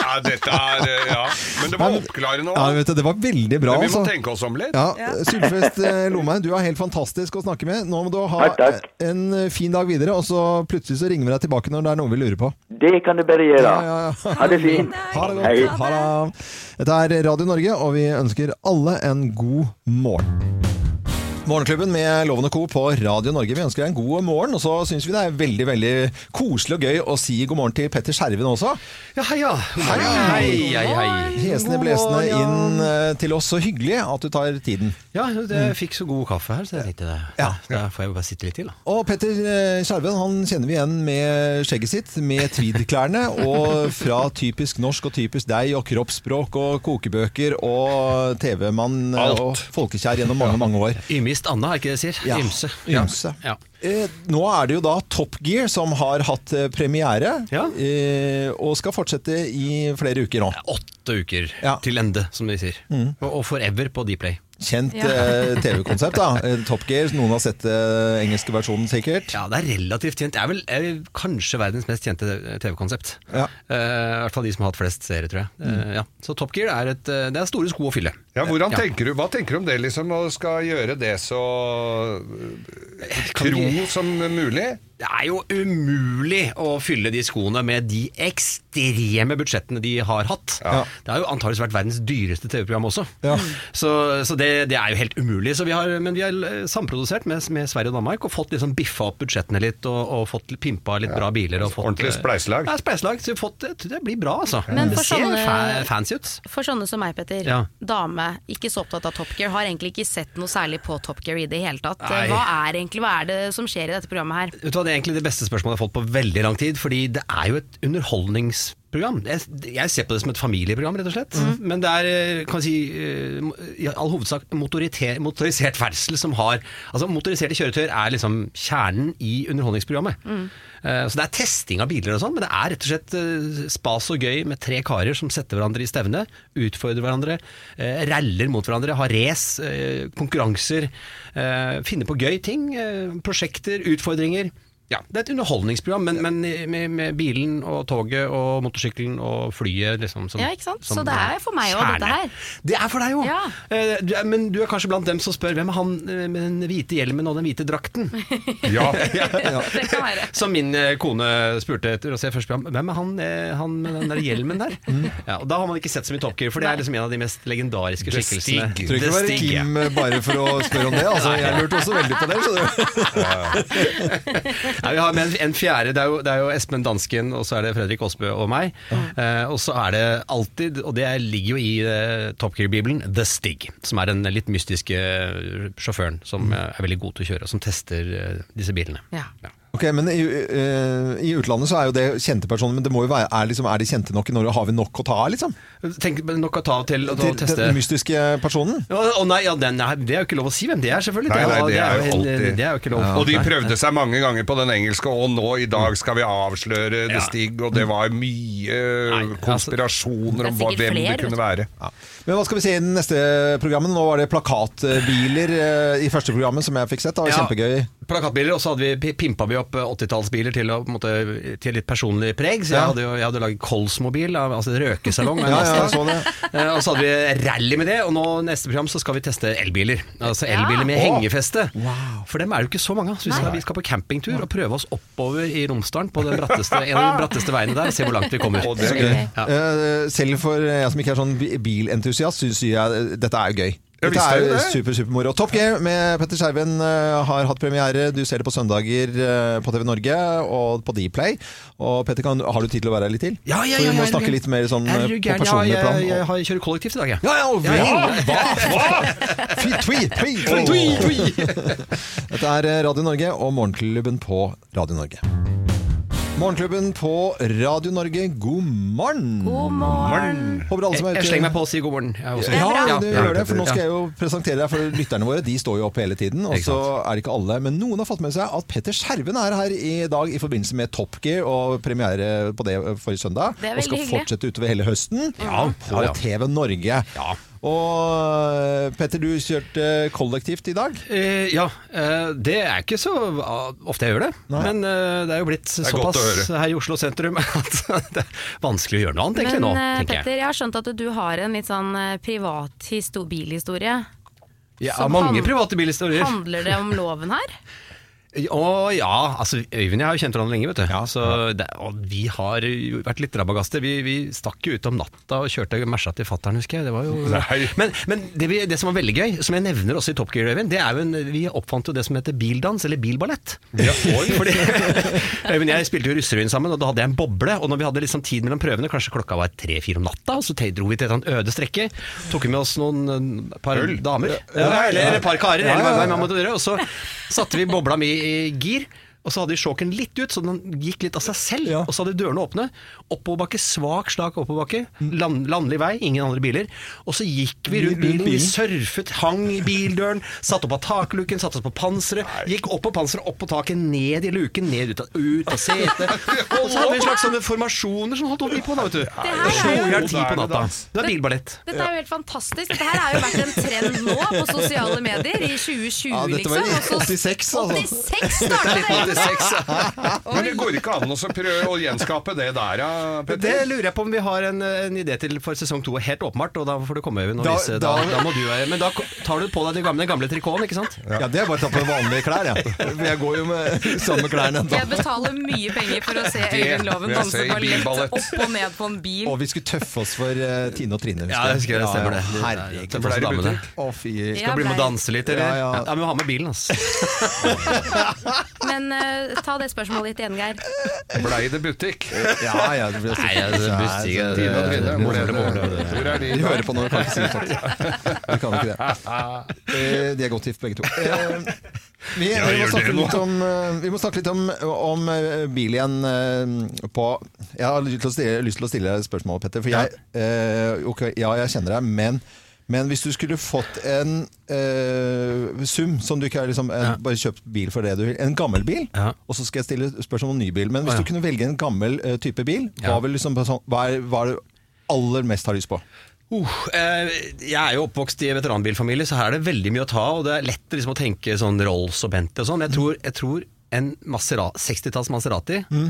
[SPEAKER 4] Ja, dette er eh, Ja. Men det var oppklarende
[SPEAKER 1] Ja,
[SPEAKER 4] òg.
[SPEAKER 1] vet du, det var veldig bra,
[SPEAKER 4] Vi må
[SPEAKER 1] altså.
[SPEAKER 4] tenke oss om litt.
[SPEAKER 1] Ja, Sylfest eh, Lomheim, du er helt fantastisk å snakke med. Nå må du ha
[SPEAKER 9] Takk, takk.
[SPEAKER 1] eh, en fin dag videre, og så plutselig så ringer vi deg tilbake når det er noe vi lurer på.
[SPEAKER 9] Det kan du bare gjøre.
[SPEAKER 1] Ja, ja, ja.
[SPEAKER 9] Ha det fint.
[SPEAKER 1] Ha det
[SPEAKER 9] Hei.
[SPEAKER 1] godt. Ha det. Dette er Radio Norge, og vi ønsker alle en god morgen. Morgenklubben med Loven og Co. på Radio Norge. Vi ønsker deg en god morgen, og så syns vi det er veldig veldig koselig og gøy å si god morgen til Petter Skjerven også.
[SPEAKER 10] Ja, hei, ja. Hei, hei, hei, hei.
[SPEAKER 1] Hesende
[SPEAKER 10] God
[SPEAKER 1] blesende
[SPEAKER 10] morgen.
[SPEAKER 1] inn eh, til oss. Så hyggelig at du tar tiden. Mm.
[SPEAKER 10] Ja, det, jeg fikk så god kaffe her, så jeg tenkte det.
[SPEAKER 1] Ja.
[SPEAKER 10] Da får jeg bare sitte litt til, da.
[SPEAKER 1] Og Petter eh, Skjerven han kjenner vi igjen med skjegget sitt, med tweedklærne, og fra typisk norsk og typisk deg og kroppsspråk og kokebøker og TV-mann eh,
[SPEAKER 4] Alt.
[SPEAKER 1] og folkekjær gjennom mange, mange år.
[SPEAKER 10] Ymist Anna, er ikke det jeg sier?
[SPEAKER 1] Ja,
[SPEAKER 10] Ymse.
[SPEAKER 1] ymse.
[SPEAKER 10] Ja.
[SPEAKER 1] Eh, nå er det jo da Top Gear som har hatt eh, premiere,
[SPEAKER 10] Ja.
[SPEAKER 1] eh, og skal fortsette i flere uker nå.
[SPEAKER 10] Ja. Åtte uker
[SPEAKER 1] Ja. Mm.
[SPEAKER 10] til ende, som de sier. Og, og forever på Dplay.
[SPEAKER 1] Kjent eh, TV-konsept, da. Eh, Top Gear, noen har sett eh, engelske versjonen sikkert.
[SPEAKER 10] Ja, det er relativt kjent. Det er vel er kanskje verdens mest kjente TV-konsept.
[SPEAKER 1] Ja. Mm.
[SPEAKER 10] Eh, I hvert fall de som har hatt flest seere, tror jeg. Eh, ja. Så Top Gear er, et, eh, det er store sko å fylle.
[SPEAKER 4] Ja, hvordan
[SPEAKER 10] Ja.
[SPEAKER 4] tenker du, Hva tenker du om det, liksom? Å skal gjøre det så eh,
[SPEAKER 10] Kan
[SPEAKER 4] tro
[SPEAKER 10] ikke-
[SPEAKER 4] som mulig?
[SPEAKER 10] Det er jo umulig å fylle de skoene med de ekstreme budsjettene de har hatt. Det har jo antakeligvis vært verdens dyreste TV-program også.
[SPEAKER 1] Ja.
[SPEAKER 10] Så, så det, det er jo helt umulig. Så vi har, men vi har eh, samprodusert med, med Sverige og Danmark og fått liksom biffa opp budsjettene litt og, og fått pimpa litt bra biler. Og fått,
[SPEAKER 4] Ordentlig
[SPEAKER 10] eh,
[SPEAKER 4] spleiselag.
[SPEAKER 10] Ja, spleiselag. Så vi har fått, det- det blir bra, altså.
[SPEAKER 8] Men
[SPEAKER 10] det
[SPEAKER 8] for
[SPEAKER 10] ser
[SPEAKER 8] sånne-
[SPEAKER 10] fa fancy ut.
[SPEAKER 8] For sånne som meg, Petter,
[SPEAKER 10] Ja.
[SPEAKER 8] dame samme. Ikke så opptatt av Top Gear. Har egentlig ikke sett noe særlig på Top Gear i det hele tatt.
[SPEAKER 10] Nei.
[SPEAKER 8] Hva er egentlig hva er det som skjer i dette programmet her?
[SPEAKER 10] Vet du hva, Det er egentlig det beste spørsmålet jeg har fått på veldig lang tid, fordi det er jo et underholdningsprogram. Jeg, jeg ser på det som et familieprogram, rett og slett. Men det er eh, kan jeg si, eh, i all hovedsak motorite- motorisert ferdsel som har Altså, motoriserte kjøretøyer er liksom kjernen i underholdningsprogrammet.
[SPEAKER 7] Mm.
[SPEAKER 10] Eh, Så det er testing av biler og sånn, men det er rett og slett eh, spas og gøy med tre karer som setter hverandre i stevne, utfordrer hverandre, eh, raller mot hverandre, har race, eh, konkurranser, eh, finner på gøy ting, eh, prosjekter, utfordringer. Ja, Det er et underholdningsprogram, men, men i- med, med bilen og toget og motorsykkelen og flyet liksom som,
[SPEAKER 8] Ja, ikke sant?
[SPEAKER 10] som
[SPEAKER 8] Så det er for meg også,
[SPEAKER 10] kjerne.
[SPEAKER 8] dette her.
[SPEAKER 10] Det er for deg òg! Men du er kanskje blant dem som spør hvem er han eh, med den hvite hjelmen og den hvite drakten?
[SPEAKER 4] Ja.
[SPEAKER 10] Som min eh, kone spurte etter å se første program, hvem er han, eh, han med den der hjelmen der? Ja, og da har man ikke sett så mye Top Gear, for det er liksom en av de mest legendariske
[SPEAKER 4] The
[SPEAKER 10] skikkelsene.
[SPEAKER 4] Stig.
[SPEAKER 1] Trenger ikke
[SPEAKER 10] The
[SPEAKER 1] å være
[SPEAKER 10] Stig, ja.
[SPEAKER 1] Kim eh, bare for å spørre om det. Altså,
[SPEAKER 10] Nei.
[SPEAKER 1] jeg lurte også veldig på det. skjønner du?
[SPEAKER 10] Nei, vi har med en, en fjerde, det er, jo, det er jo Espen Dansken, og så er det Fredrik Aasbø og meg. Eh, og så er det alltid, og det ligger jo i eh, Top Gear-bibelen, The Stig. Som er den litt mystiske sjåføren som
[SPEAKER 1] Mm.
[SPEAKER 10] eh, er veldig god til å kjøre, og som tester eh, disse bilene.
[SPEAKER 1] Ok, men i, eh, I utlandet så er jo det kjente personer, men det må jo være, er, liksom, er de kjente nok i Norge? Har vi nok å ta av, liksom?
[SPEAKER 10] Tenk nok å ta av til å
[SPEAKER 1] Til
[SPEAKER 10] teste.
[SPEAKER 1] den mystiske personen?
[SPEAKER 10] Å å nei, ja, den er, det er jo ikke lov å si hvem det er, selvfølgelig.
[SPEAKER 4] Nei, nei, det er jo
[SPEAKER 10] en-
[SPEAKER 4] alltid
[SPEAKER 10] Det er jo ikke lov.
[SPEAKER 4] Og de
[SPEAKER 10] Nei.
[SPEAKER 4] prøvde seg mange ganger på den engelske, og nå i dag skal vi avsløre
[SPEAKER 10] Ja.
[SPEAKER 4] The Stig, og det var mye eh, konspirasjoner om hva,
[SPEAKER 1] Det er sikkert
[SPEAKER 4] hvem det
[SPEAKER 1] flere, vet
[SPEAKER 4] kunne
[SPEAKER 1] du.
[SPEAKER 4] være.
[SPEAKER 1] Men hva skal vi se i den neste programmet? Nå var det plakatbiler eh, i første programmet som jeg fikk sett. Det var
[SPEAKER 10] Ja.
[SPEAKER 1] kjempegøy.
[SPEAKER 10] Plakatbiler, og så hadde vi, pimpa vi opp eh, 80-tallsbiler til, å, på en måte, til litt personlig preg. Så jeg
[SPEAKER 1] Ja.
[SPEAKER 10] hadde, jo- jeg hadde laget Kolsmobil, av- altså en røkesalong. av en
[SPEAKER 1] Ja, ja,
[SPEAKER 10] Mazda.
[SPEAKER 1] jeg så
[SPEAKER 10] Eh, Og så hadde vi rally med det, og nå neste program så skal vi teste elbiler. Altså elbiler med
[SPEAKER 1] Ja.
[SPEAKER 10] hengefeste. For dem er det jo ikke så mange av. Så vi skal, vi skal på campingtur og prøve oss oppover i Romsdalen på den bratteste, en av de bratteste veiene der, og se hvor langt vi kommer.
[SPEAKER 1] Å, det er
[SPEAKER 10] Så
[SPEAKER 1] gøy.
[SPEAKER 10] Ja.
[SPEAKER 1] Eh, Selv for jeg som ikke er sånn bi- bilentusiast, syns jeg eh, dette er gøy.
[SPEAKER 10] Ja,
[SPEAKER 1] Dette
[SPEAKER 10] visst er
[SPEAKER 1] er
[SPEAKER 10] det det.
[SPEAKER 1] super, supermoro. Top Gear med Petter Skjerven eh, har hatt premiere. Du ser det på søndager eh, på TV Norge og på Dplay. Og Petter, kan, har du tid til å være her litt til?
[SPEAKER 10] Ja, ja,
[SPEAKER 1] For
[SPEAKER 10] ja,
[SPEAKER 1] vi
[SPEAKER 10] ja,
[SPEAKER 1] må
[SPEAKER 10] er du
[SPEAKER 1] snakke
[SPEAKER 10] gæren?
[SPEAKER 1] litt mer sånn eh,
[SPEAKER 10] Er du
[SPEAKER 1] på
[SPEAKER 10] gæren?
[SPEAKER 1] personlig
[SPEAKER 10] Ja,
[SPEAKER 1] plan.
[SPEAKER 10] jeg, jeg, har- kjører kollektivt i dag, jeg.
[SPEAKER 1] Ja, ja, vel. Hva? Fy, tvi, tvi.
[SPEAKER 10] Tvi, tvi.
[SPEAKER 1] Dette er eh, Radio Norge og Morgenklubben på Radio Norge. Morgenklubben på Radio Norge, god morgen! God morgen! Håper alle som er
[SPEAKER 10] Jeg,
[SPEAKER 1] ute
[SPEAKER 10] jeg slenger meg på og sier god morgen. Jeg er også-
[SPEAKER 1] ja, du gjør det, for nå skal jeg jo presentere deg for lytterne våre. De står jo opp hele tiden, og
[SPEAKER 10] Ikke
[SPEAKER 1] så er det ikke alle. Men noen har fått med seg at Petter Skjerven er her i dag i forbindelse med Top Gear og premiere på det forrige søndag.
[SPEAKER 10] Det er
[SPEAKER 1] og skal
[SPEAKER 10] veldig hyggelig.
[SPEAKER 1] fortsette utover hele høsten
[SPEAKER 10] Ja,
[SPEAKER 1] på
[SPEAKER 10] ja, ja.
[SPEAKER 1] TV Norge. Og Petter, du kjørte kollektivt i dag.
[SPEAKER 10] Eh, ja, eh, det er ikke så ah, ofte jeg gjør det. Men eh, det er jo blitt
[SPEAKER 4] er godt
[SPEAKER 10] såpass
[SPEAKER 4] å høre.
[SPEAKER 10] her i Oslo sentrum at det er vanskelig å gjøre noe annet egentlig
[SPEAKER 2] Men
[SPEAKER 10] nå,
[SPEAKER 2] eh,
[SPEAKER 10] tenker
[SPEAKER 2] Petter,
[SPEAKER 10] jeg.
[SPEAKER 2] jeg har skjønt at du har en litt sånn eh, privat histo bilhistorie.
[SPEAKER 10] Jeg har
[SPEAKER 2] som
[SPEAKER 10] mange
[SPEAKER 2] han-
[SPEAKER 10] private bilhistorier.
[SPEAKER 2] Handler det om loven her?
[SPEAKER 10] Å ja, altså Øyvind og jeg har jo kjent hverandre lenge, vet du. så det, og vi har jo vært litt rabagaster. Vi, vi stakk jo ut om natta og kjørte Merca til fattern, husker jeg. Det var jo... Men, men det, vi, det som var veldig gøy, som jeg nevner også i Top Gear, Øyvind, det er jo en, vi oppfant jo det som heter bildans, eller bilballett. Fordi, Øyvind og jeg spilte jo Russerevyen sammen, og da hadde jeg en boble. Og når vi hadde liksom tid mellom prøvene, kanskje klokka var tre-fire om natta, og så te- dro vi til et sånt øde strekke. Tok vi med oss noen eh, par
[SPEAKER 4] Øl?
[SPEAKER 10] damer,
[SPEAKER 4] Ja, ja, ja.
[SPEAKER 10] eller, eller et par karer,
[SPEAKER 4] Ja,
[SPEAKER 10] eller hva-
[SPEAKER 4] ja, ja.
[SPEAKER 10] hva man måtte gjøre. Og så satte vi bobla mi i gir. Og så hadde vi sjåken litt ut, så den gikk litt av seg selv. Og så hadde dørene åpne. Oppoverbakke, svak slak oppoverbakke. Land, landlig vei, ingen andre biler. Og så gikk vi rundt
[SPEAKER 1] Bil, bil,
[SPEAKER 10] bilen, vi
[SPEAKER 1] bil.
[SPEAKER 10] surfet, hang i bildøren, satte opp av takluken, satte oss på panseret. Gikk opp på panseret, opp på taket, ned i luken, ned ut av, ut av setet. Og så hadde vi en slags sånne formasjoner som holdt vi på, da, vet du. Solhjern ti på natta. Det var bilballett.
[SPEAKER 8] Dette er jo helt fantastisk. Dette her har jo vært en trend nå på sosiale medier i 2020,
[SPEAKER 4] Ja, dette var i
[SPEAKER 8] liksom. Og så-
[SPEAKER 4] 86, altså.
[SPEAKER 8] 86 startet det!
[SPEAKER 4] Men det går ikke an å så prøve å gjenskape det der, ja,
[SPEAKER 10] Det
[SPEAKER 4] Petter?
[SPEAKER 10] lurer jeg på om vi har en, en idé til for sesong to, helt åpenbart. Og da får du komme, Øyvind. og
[SPEAKER 4] Da-
[SPEAKER 10] vise- Da,
[SPEAKER 4] da-
[SPEAKER 10] da, må du være- Men da tar du på deg den gamle, den gamle trikoten, ikke sant?
[SPEAKER 1] Ja, det er bare å ta på vanlige klær, jeg. For jeg går jo med samme klærne ennå.
[SPEAKER 2] Jeg betaler mye penger for å se
[SPEAKER 1] Det
[SPEAKER 2] Øyvind Loven
[SPEAKER 1] vil jeg se
[SPEAKER 2] danse
[SPEAKER 1] i
[SPEAKER 2] ballett
[SPEAKER 1] bilballett.
[SPEAKER 2] opp og ned på en bil.
[SPEAKER 1] Og vi skulle tøffe oss for eh, Tine og Trine.
[SPEAKER 10] Ja, jeg husker det, stemmer det. Det-
[SPEAKER 1] Herregud.
[SPEAKER 10] det ble i butikk.
[SPEAKER 1] Å, fy.
[SPEAKER 10] Skal bli med å danse litt, eller? Ja, men vi må ha med bilen, ass.
[SPEAKER 2] Men eh, ta det spørsmålet ditt igjen, Geir.
[SPEAKER 4] Blei det butikk?
[SPEAKER 1] Ja, ja, det ble
[SPEAKER 10] Nei, ja, det blir sikkert-
[SPEAKER 4] Tine og Trine, hvor er
[SPEAKER 1] det-
[SPEAKER 4] altså, det borte? Hvor er de?
[SPEAKER 1] De hører på nå, kan ikke si det takk. De kan ikke det. Eh, De er godt gift, begge to. Eh, Vi,
[SPEAKER 4] Ja,
[SPEAKER 1] vi, må
[SPEAKER 4] gjør
[SPEAKER 1] snakke
[SPEAKER 4] det nå.
[SPEAKER 1] litt om, eh, vi må snakke litt om, om eh, bil igjen eh, på Jeg har lyst til å stille, lyst til å stille deg et spørsmål, Petter. For jeg, eh, ok, ja, jeg kjenner deg, men, men hvis du skulle fått en eh, sum som du ikke har liksom, en, Bare kjøpt bil for det du vil. En gammel bil, og så skal jeg stille spørsmål om ny bil. Men hvis du kunne velge en gammel eh, type bil, hva, vil liksom, sånn- hva, er, hva er det aller mest har lyst på?
[SPEAKER 10] Uh, eh, jeg er jo oppvokst i en veteranbilfamilie, så her er det veldig mye å ta av. Og det er lett liksom, å tenke sånn Rolls og Bentley og sånn. Jeg tror, jeg tror en Masera- 60-talls Maserati
[SPEAKER 1] Mm.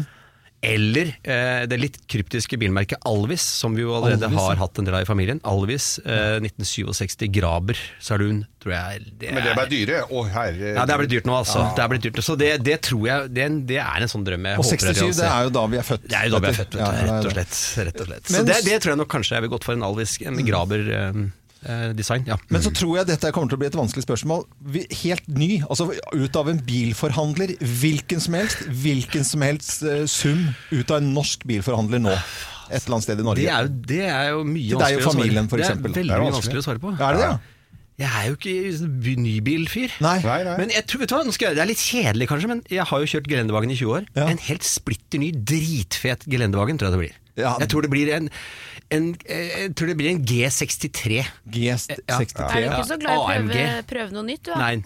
[SPEAKER 10] eller eh, det litt kryptiske bilmerket Alvis, som vi jo allerede
[SPEAKER 11] Alvis, ja.
[SPEAKER 10] har hatt en del av i familien. Alvis eh, 1967 Graber Saloon, tror jeg det
[SPEAKER 4] Men det ble dyre. Å,
[SPEAKER 1] Eh,
[SPEAKER 4] herre
[SPEAKER 10] Ja, det er blitt dyrt nå, altså.
[SPEAKER 4] Ja.
[SPEAKER 10] Det er blitt dyrt. Så det, det tror jeg det, er en- det er en sånn drøm jeg
[SPEAKER 1] Og
[SPEAKER 10] håper jeg
[SPEAKER 1] 67, det
[SPEAKER 10] realiserer.
[SPEAKER 1] er jo da vi er født.
[SPEAKER 10] Det er jo da vi er født, vet du.
[SPEAKER 1] Ja, det er
[SPEAKER 10] rett, og
[SPEAKER 1] det.
[SPEAKER 10] slett, rett og slett. Så
[SPEAKER 1] Men-
[SPEAKER 10] det, det tror jeg nok kanskje jeg ville gått for en Alvis
[SPEAKER 1] Mm.
[SPEAKER 10] en Graber-design. ja.
[SPEAKER 1] Men så tror jeg dette kommer til å bli et vanskelig spørsmål. Vi- Helt ny, altså ut av en bilforhandler, hvilken som helst, hvilken som helst eh, sum ut av en norsk bilforhandler nå. Et eller annet sted i Norge.
[SPEAKER 10] Det er jo, det er jo mye
[SPEAKER 1] Til deg og
[SPEAKER 10] vanskeligere å svare
[SPEAKER 1] familien, for
[SPEAKER 10] Det er
[SPEAKER 1] eksempel.
[SPEAKER 10] veldig
[SPEAKER 1] Det er
[SPEAKER 10] mye
[SPEAKER 1] vanskelig.
[SPEAKER 10] vanskeligere å svare på.
[SPEAKER 1] Er det det, ja?
[SPEAKER 10] Jeg er jo ikke by- nybilfyr.
[SPEAKER 1] Nei, nei.
[SPEAKER 10] Men jeg tror, vet du hva, nå skal jeg, det er litt kjedelig kanskje, men jeg har jo kjørt Gelendevagen i 20 år. En helt splitter ny, dritfet Gelendevagen tror jeg det blir. Jeg, tror det blir en, en, eh, jeg tror det blir en G63. Eh,
[SPEAKER 2] Er
[SPEAKER 1] G63?
[SPEAKER 2] du ikke så glad i å prøve, prøve noe nytt, du? da?
[SPEAKER 10] Nei.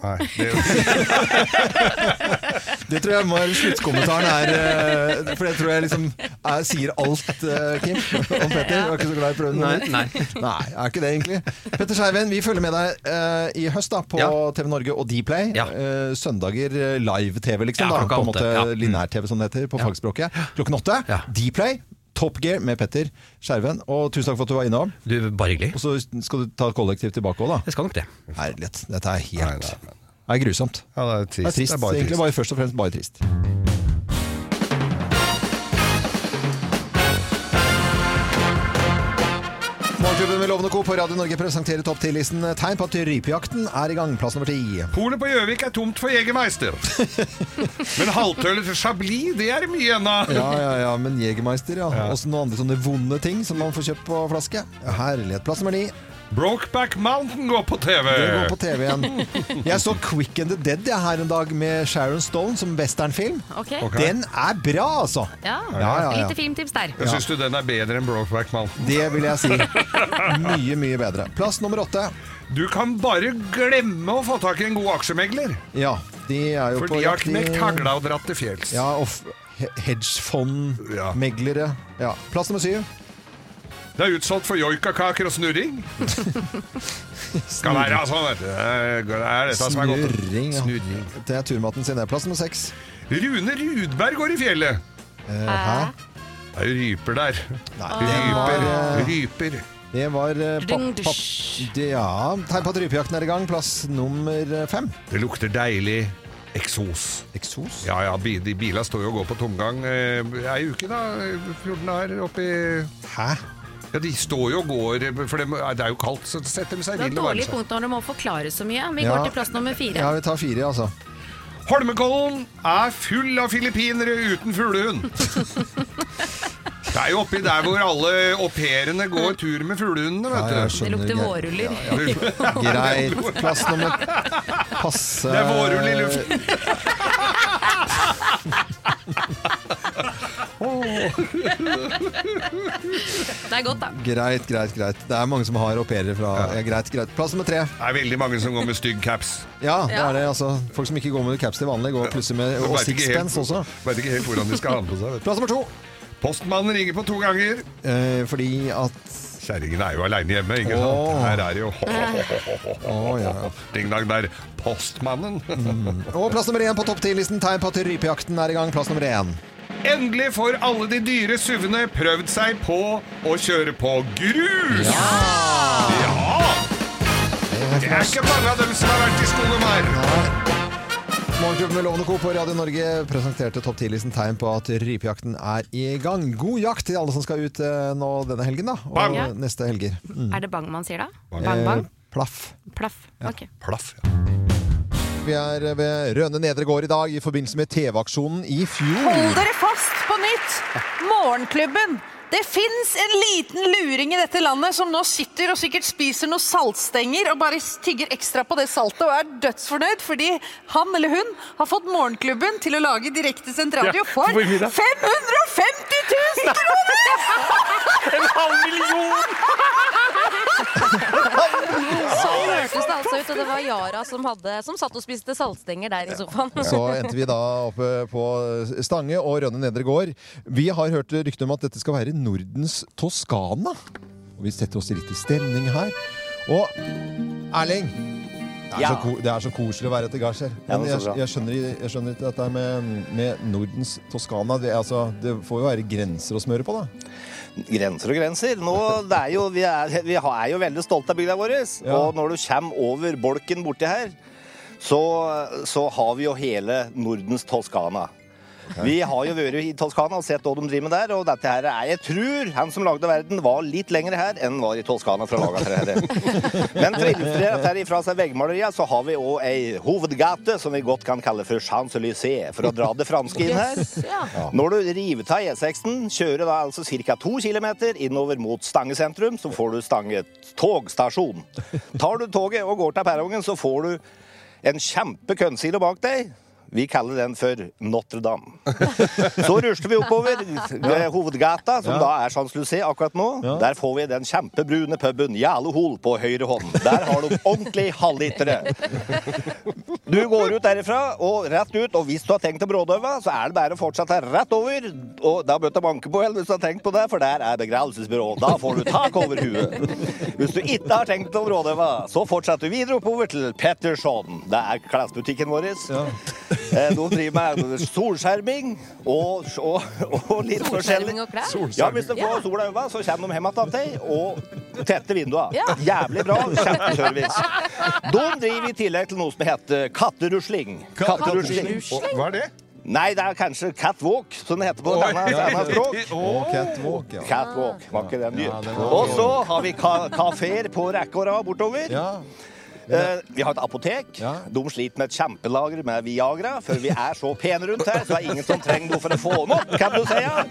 [SPEAKER 1] Det tror jeg må være sluttkommentaren er eh, For det tror jeg liksom er, sier alt, eh, Kim, om Petter. Du er ikke så glad i prøven?
[SPEAKER 10] Nei,
[SPEAKER 1] eller?
[SPEAKER 10] nei.
[SPEAKER 1] nei, er ikke det egentlig. Petter Skeiven, vi følger med deg eh, i høst da på TV Norge og Dplay. Eh, søndager eh, live-TV, liksom.
[SPEAKER 10] Ja,
[SPEAKER 1] da,
[SPEAKER 10] klokka
[SPEAKER 1] på en
[SPEAKER 10] åtte,
[SPEAKER 1] måte
[SPEAKER 10] ja. Mm.
[SPEAKER 1] Linær-TV, som det heter på fagspråket. Klokken åtte. Dplay. Top Gear med Petter Skjerven. Og tusen takk for at du var innom.
[SPEAKER 10] Du, bare hyggelig.
[SPEAKER 1] Og så skal du ta kollektiv tilbake òg, da.
[SPEAKER 10] Jeg skal nok det.
[SPEAKER 1] Herlig. Dette er helt Det er grusomt.
[SPEAKER 4] Ja, det er trist.
[SPEAKER 1] Det er
[SPEAKER 4] Det
[SPEAKER 1] trist.
[SPEAKER 4] er bare
[SPEAKER 1] egentlig
[SPEAKER 4] trist.
[SPEAKER 1] bare først og fremst bare trist. Morgenklubben med Lovende Co. på Radio Norge presenterer topp 10-listen tegn på at rypejakten er i gang. Plass nummer ti.
[SPEAKER 4] Polet på Gjøvik er tomt for Jegermeister. Men halvtølet Chablis, det er det mye igjen av.
[SPEAKER 1] Ja, ja, ja, men Jegermeister, ja. Også noen andre sånne vonde ting som man får kjøpt på flaske. Herlighet. Plass nummer ni.
[SPEAKER 4] Brokeback Mountain går på TV.
[SPEAKER 1] Det går på TV igjen. Jeg så Quick and the Dead jeg, her en dag med Sharon Stone som westernfilm.
[SPEAKER 2] Ok.
[SPEAKER 1] Den er bra, altså!
[SPEAKER 2] Ja.
[SPEAKER 1] Ja, ja, ja.
[SPEAKER 2] Lite filmtips der.
[SPEAKER 4] Jeg Syns du den er bedre enn Brokeback Mountain?
[SPEAKER 1] Det vil jeg si. Mye, mye bedre. Plass nummer åtte.
[SPEAKER 4] Du kan bare glemme å få tak i en god aksjemegler.
[SPEAKER 1] Ja, de er jo
[SPEAKER 4] For
[SPEAKER 1] på
[SPEAKER 4] de har
[SPEAKER 1] jakt i-
[SPEAKER 4] knekt hagla og dratt til fjells.
[SPEAKER 1] Ja, og f- he- hedgefond, meglere. Ja. Plass nummer syv.
[SPEAKER 4] Det er utsolgt for joikakaker og snurring. Skal være sånn, vet du. Det er dette som er godt.
[SPEAKER 1] Snurring. Ja. Det er turmaten sin. Det er plass nummer seks. Eh,
[SPEAKER 4] Rune Rudberg går i fjellet.
[SPEAKER 1] hæ?
[SPEAKER 4] Det er jo ryper der. Ah.
[SPEAKER 1] det var,
[SPEAKER 4] ryper.
[SPEAKER 1] eh,
[SPEAKER 4] ryper.
[SPEAKER 1] Det var eh, papp,
[SPEAKER 4] Ding,
[SPEAKER 1] papp, det, Ja, tegn på at rypejakten er i gang. Plass nummer eh, fem.
[SPEAKER 4] Det lukter deilig eksos.
[SPEAKER 1] Eksos?
[SPEAKER 4] Ja, ja, bi- de Bila står jo og går på tomgang eh, ei uke, da. 14 dager oppi
[SPEAKER 1] Hæ?
[SPEAKER 4] Ja, De står jo og går, eh, for det må- det er jo kaldt, så setter de seg i
[SPEAKER 2] Du har
[SPEAKER 4] bilen og
[SPEAKER 2] dårlige
[SPEAKER 4] varmer seg.
[SPEAKER 2] punkter når du må forklare så mye. Vi
[SPEAKER 4] Ja.
[SPEAKER 2] går til plass nummer fire.
[SPEAKER 1] Ja, vi tar fire, altså.
[SPEAKER 4] Holmenkollen er full av filippinere uten fuglehund. Det er jo oppi der hvor alle au pairene går tur med fuglehundene, vet du.
[SPEAKER 1] Ja, jeg skjønner, Det lukter Geir.
[SPEAKER 2] vårruller.
[SPEAKER 1] Greit. Plass nummer Passe
[SPEAKER 4] Det er vårrull i luften.
[SPEAKER 2] Det er godt, da.
[SPEAKER 1] Greit, greit, greit. Det er mange som har au pairer fra ja. Greit, greit. Plass nummer tre.
[SPEAKER 4] Det er veldig mange som går med stygg caps.
[SPEAKER 1] Ja, det er det. altså Folk som ikke går med caps til vanlig, går plutselig med
[SPEAKER 4] De
[SPEAKER 1] og
[SPEAKER 4] vet ikke
[SPEAKER 1] sixpence
[SPEAKER 4] helt-
[SPEAKER 1] også.
[SPEAKER 4] Vet ikke helt hvordan de skal ha den på seg. vet du.
[SPEAKER 1] Plass nummer to.
[SPEAKER 4] Postmannen ringer på to ganger.
[SPEAKER 1] Eh, fordi at
[SPEAKER 4] Kjerringen er jo aleine hjemme, ikke
[SPEAKER 1] Åh.
[SPEAKER 4] sant? Her er det jo ho, ho, ho, ho, ho, ho, ho. Ding dang der. Postmannen.
[SPEAKER 1] Og plass nummer én på topp ti-listen. Tegn på at rypejakten er i gang. Plass nummer én.
[SPEAKER 4] Endelig får alle de dyre SUV-ene prøvd seg på å kjøre på grus! Ja! Det er ikke mange av dem som har vært i skogen her.
[SPEAKER 1] Morgenklubben med Lovende Co. på Radio Norge presenterte topp 10-listen tegn på at rypejakten er i gang. God jakt til alle som skal ut eh, nå denne helgen, da. Og
[SPEAKER 2] Bang. Ja.
[SPEAKER 1] neste helger. Mm.
[SPEAKER 2] Er det bang man sier da? Bang, bang?
[SPEAKER 1] Eh, plaff.
[SPEAKER 2] Plaff. Ok.
[SPEAKER 4] Plaff,
[SPEAKER 1] ja. Vi er ved Rønne Nedre Gård i dag i forbindelse med TV-aksjonen i fjor.
[SPEAKER 11] Hold dere fast på nytt! Morgenklubben. Det fins en liten luring i dette landet som nå sitter og sikkert spiser noen saltstenger og bare tigger ekstra på det saltet og er dødsfornøyd fordi han eller hun har fått Morgenklubben til å lage direktesendt radio
[SPEAKER 7] Ja,
[SPEAKER 11] for
[SPEAKER 7] for mye da.
[SPEAKER 11] 550 000 kroner!
[SPEAKER 7] En halv million!
[SPEAKER 8] Sånn hørtes det altså ut, og det var Yara som, hadde, som satt og spiste saltstenger der i sofaen.
[SPEAKER 1] Så endte vi da oppe på Stange og Rønne Nedre Gård. Vi har hørt ryktene om at dette skal være Nordens Toskana. Og vi setter oss litt i stemning her. Og Erling! Det er,
[SPEAKER 12] Ja.
[SPEAKER 1] så, ko det er så koselig å være etter gards her.
[SPEAKER 12] Ja,
[SPEAKER 1] Men
[SPEAKER 12] det er
[SPEAKER 1] jeg,
[SPEAKER 12] så bra.
[SPEAKER 1] jeg, skjønner, jeg skjønner ikke dette med, med Nordens Toskana. Det, er altså, det får jo være grenser å smøre på, da.
[SPEAKER 12] Grenser og grenser. Nå, det er jo, vi, er, vi er jo veldig stolte av bygda vår.
[SPEAKER 1] Ja.
[SPEAKER 12] Og når du kommer over bolken borti her, så, så har vi jo hele Nordens Toskana. Vi har jo vært i Toskana og sett hva de driver med der. Og dette her er, jeg tror han som lagde verden, var litt lenger her enn han var i Toskana fra laga til dette. Men for å illustrere dette her ifra seg veggmaleriet, så har vi òg ei hovedgate som vi godt kan kalle for Champs-Élysées, for å dra det franske inn her.
[SPEAKER 7] Yes, ja. Ja.
[SPEAKER 12] Når du river av E6-en, kjører da altså ca. 2 km innover mot Stange sentrum, så får du Stange togstasjon. Tar du toget og går til perrongen, så får du en kjempe kønnsilo bak deg. Vi kaller den for Notre-Dame. Så rusler vi oppover ved hovedgata, som
[SPEAKER 7] Ja.
[SPEAKER 12] da er Champs-Lucé akkurat nå. Der får vi den kjempebrune puben Jale Hol på høyre hånd. Der har du ordentlig halvlitere. Du går ut derifra og rett ut, og hvis du har tenkt å brådøve, så er det bare å fortsette rett over. Og da bør du banke på, eller hvis du har tenkt på det, for der er begravelsesbyrå. Da får du tak over huet. Hvis du ikke har tenkt å brådøve, så fortsetter du videre oppover til Petterson. Det er klesbutikken vår. Eh, De driver med solskjerming og, og, og litt forskjellig.
[SPEAKER 7] Solskjerming og klær? Solskjerming.
[SPEAKER 12] Ja, hvis de
[SPEAKER 7] Ja.
[SPEAKER 12] får sola i øynene, så kommer de hjem igjen til deg og tetter vinduene.
[SPEAKER 7] Ja.
[SPEAKER 12] Jævlig bra. Kjempeservice. De driver i tillegg til noe som heter katterusling.
[SPEAKER 4] Ka- katterusling? Hva er det?
[SPEAKER 12] Nei, det er kanskje catwalk, som det heter på
[SPEAKER 4] Oi.
[SPEAKER 12] denne, denne språk.
[SPEAKER 1] Å, catwalk, ja.
[SPEAKER 12] Catwalk, var ikke den dyr?
[SPEAKER 1] Ja, den var
[SPEAKER 12] og
[SPEAKER 1] fin.
[SPEAKER 12] så har vi ka kafeer på rekke og rad bortover. Eh, vi har et apotek. De sliter med et kjempelager med Viagra. For vi er så pene rundt her, så er det ingen som trenger noe for å få den opp, kan du si. Ja.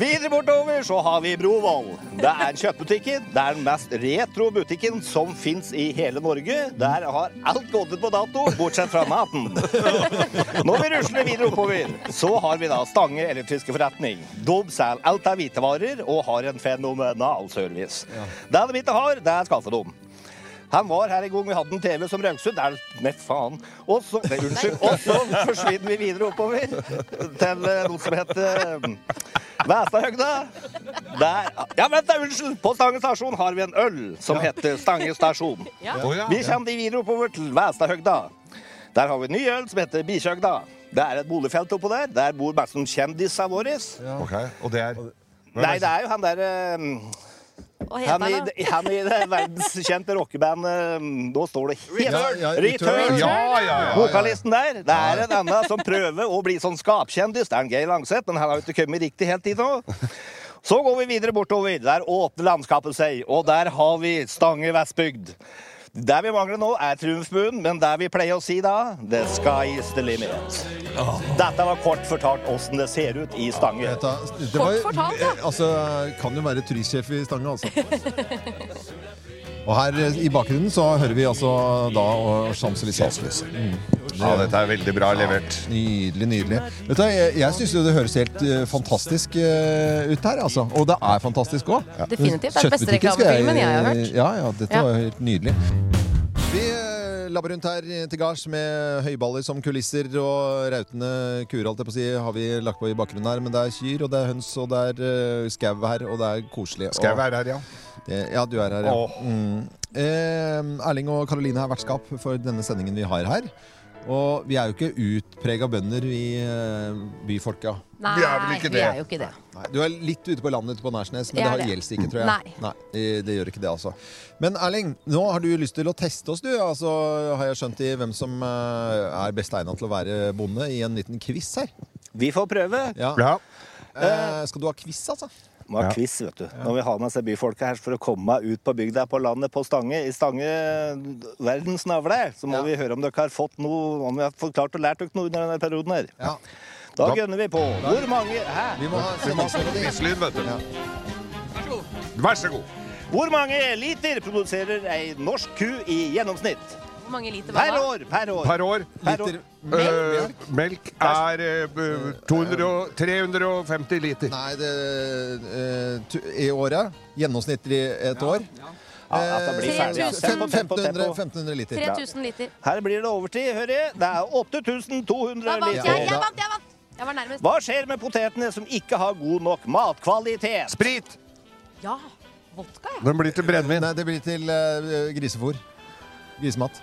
[SPEAKER 12] Videre bortover så har vi Brovoll. Det er kjøttbutikken. Det er den mest retro butikken som fins i hele Norge. Der har alt gått ut på dato, bortsett fra maten. Når vi rusler videre oppover, så har vi da Stange elektriske forretning. De selger alt av hvitevarer og har en fenomenal service. Det de ikke har, det er skaffedom. Han var her en gang vi hadde en TV som røyksudd. Er det Nei, faen. Og så Nei, unnskyld. Og så forsvinner vi videre oppover til eh, noe som heter eh, Væstahøgda. Der Ja, vent, da, unnskyld! På Stange stasjon har vi en øl som heter Stange stasjon.
[SPEAKER 7] Ja. Å, ja.
[SPEAKER 12] Vi kommer videre oppover til Væstahøgda. Der har vi en ny øl som heter Bikkjehøgda. Det er et boligfelt oppå der. Der bor mest om kjendisene våre.
[SPEAKER 4] Ok, og det er...
[SPEAKER 12] Nei, det er jo han derre han i, han i det verdenskjente rockebandet ehm, Nå står det helt
[SPEAKER 7] Return. Ja, ja,
[SPEAKER 12] Return!
[SPEAKER 7] Return. Ja, ja, ja, ja.
[SPEAKER 12] Vokalisten der. Det er en annen som prøver å bli sånn skapkjendis. Det er en Geir Langseth, men han har jo ikke kommet riktig helt dit nå. Så går vi videre bortover. Der åpner landskapet seg, og der har vi Stange Vestbygd. Der vi mangler nå, er Triumfbuen, men der vi pleier å si da The sky is the limit. Dette var kort fortalt åssen det ser ut i Stange.
[SPEAKER 1] Det var, eh, altså, kan jo være turistsjef i Stange, altså. Og her eh, i bakgrunnen så hører vi altså da og Champs-Élysées. Mm.
[SPEAKER 4] Ja, dette er veldig bra levert.
[SPEAKER 1] Nydelig, nydelig. Vet du, hva, jeg jeg syns jo det høres helt eh, fantastisk eh, ut her, altså. Og det er fantastisk òg.
[SPEAKER 8] Definitivt. Det er den beste reklamefilmen jeg har hørt.
[SPEAKER 1] eh, Ja, ja, dette
[SPEAKER 8] Ja.
[SPEAKER 1] var helt nydelig. Vi eh, labber rundt her til gards med høyballer som kulisser og rautende kuer, alt jeg på å si, har vi lagt på i bakgrunnen her. Men det er kyr, og det er høns, og det er eh, skau her, og det er koselig.
[SPEAKER 4] Skau
[SPEAKER 1] Og-
[SPEAKER 4] er her, ja.
[SPEAKER 1] Det, ja, du er her, ja.
[SPEAKER 4] Åh.
[SPEAKER 1] Mm. Eh, Erling og Karoline er vertskap for denne sendingen vi har her. Og vi er jo ikke utprega bønder, vi eh, byfolka.
[SPEAKER 8] Nei,
[SPEAKER 1] vi er vel ikke
[SPEAKER 8] vi
[SPEAKER 1] det.
[SPEAKER 8] er jo ikke det.
[SPEAKER 1] Nei, du er litt ute på landet ute på Nærsnes,
[SPEAKER 8] Jeg
[SPEAKER 1] men det
[SPEAKER 8] er
[SPEAKER 1] har
[SPEAKER 8] det.
[SPEAKER 1] gjelds ikke, tror jeg.
[SPEAKER 8] Nei.
[SPEAKER 1] eh, det gjør ikke det, altså. Men Erling, nå har du lyst til å teste oss, du. Altså, har jeg skjønt i hvem som eh, er best egna til å være bonde, i en liten quiz her.
[SPEAKER 12] Vi får prøve.
[SPEAKER 1] Ja. Eh, skal du ha quiz, altså?
[SPEAKER 12] må ha quiz, vet du. Når vi har med seg byfolka her for å komme meg ut på bygda på landet, på Stange, i Stange verdens navle, så må vi høre om dere har fått noe, om vi har forklart og lært dere noe under denne perioden her. Da
[SPEAKER 4] Da-
[SPEAKER 12] gønner vi på. Hvor mange Hæ?
[SPEAKER 4] Vi må ha quizlyd, vet du. Vær så god.
[SPEAKER 12] Hvor mange liter produserer ei norsk ku i gjennomsnitt?
[SPEAKER 8] Hvor mange liter var
[SPEAKER 12] Per
[SPEAKER 8] det?
[SPEAKER 12] år, per år.
[SPEAKER 4] Per år.
[SPEAKER 12] Per år.
[SPEAKER 4] Eh, melk er eh, b- 200 og 350 liter.
[SPEAKER 1] Nei, det, eh, tu- i året. Gjennomsnittlig et år.
[SPEAKER 12] Ja, at det blir
[SPEAKER 1] Eh,
[SPEAKER 12] ferdig, ja. Tempo, tempo, tempo.
[SPEAKER 1] 1500, 1500 liter.
[SPEAKER 8] 3000 liter.
[SPEAKER 12] Her blir det overtid, hører jeg. Det er 8200
[SPEAKER 8] Da vant
[SPEAKER 12] liter.
[SPEAKER 8] jeg! Jeg vant! Jeg vant! Jeg var nærmest.
[SPEAKER 12] Hva skjer med potetene som ikke har god nok matkvalitet?
[SPEAKER 4] Sprit!
[SPEAKER 8] Ja. Vodka, ja.
[SPEAKER 4] Den blir til brennevin.
[SPEAKER 1] Nei, det blir til uh, grisefôr. Grisemat.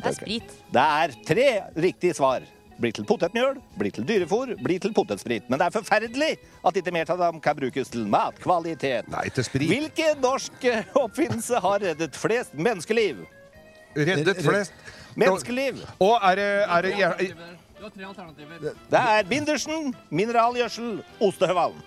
[SPEAKER 8] Det er sprit.
[SPEAKER 12] Det er tre riktige svar. Blir til potetmjøl, blir til dyrefôr, blir til potetsprit. Men det er forferdelig at ikke mer av dem kan brukes til matkvalitet.
[SPEAKER 4] Nei, til sprit.
[SPEAKER 12] Hvilken norsk eh, oppfinnelse har reddet flest menneskeliv?
[SPEAKER 4] Reddet flest.
[SPEAKER 12] Menneskeliv.
[SPEAKER 4] Og er det, er det jeg-
[SPEAKER 13] Du har tre alternativer.
[SPEAKER 12] Det er bindersen, mineralgjødsel, ostehøvelen.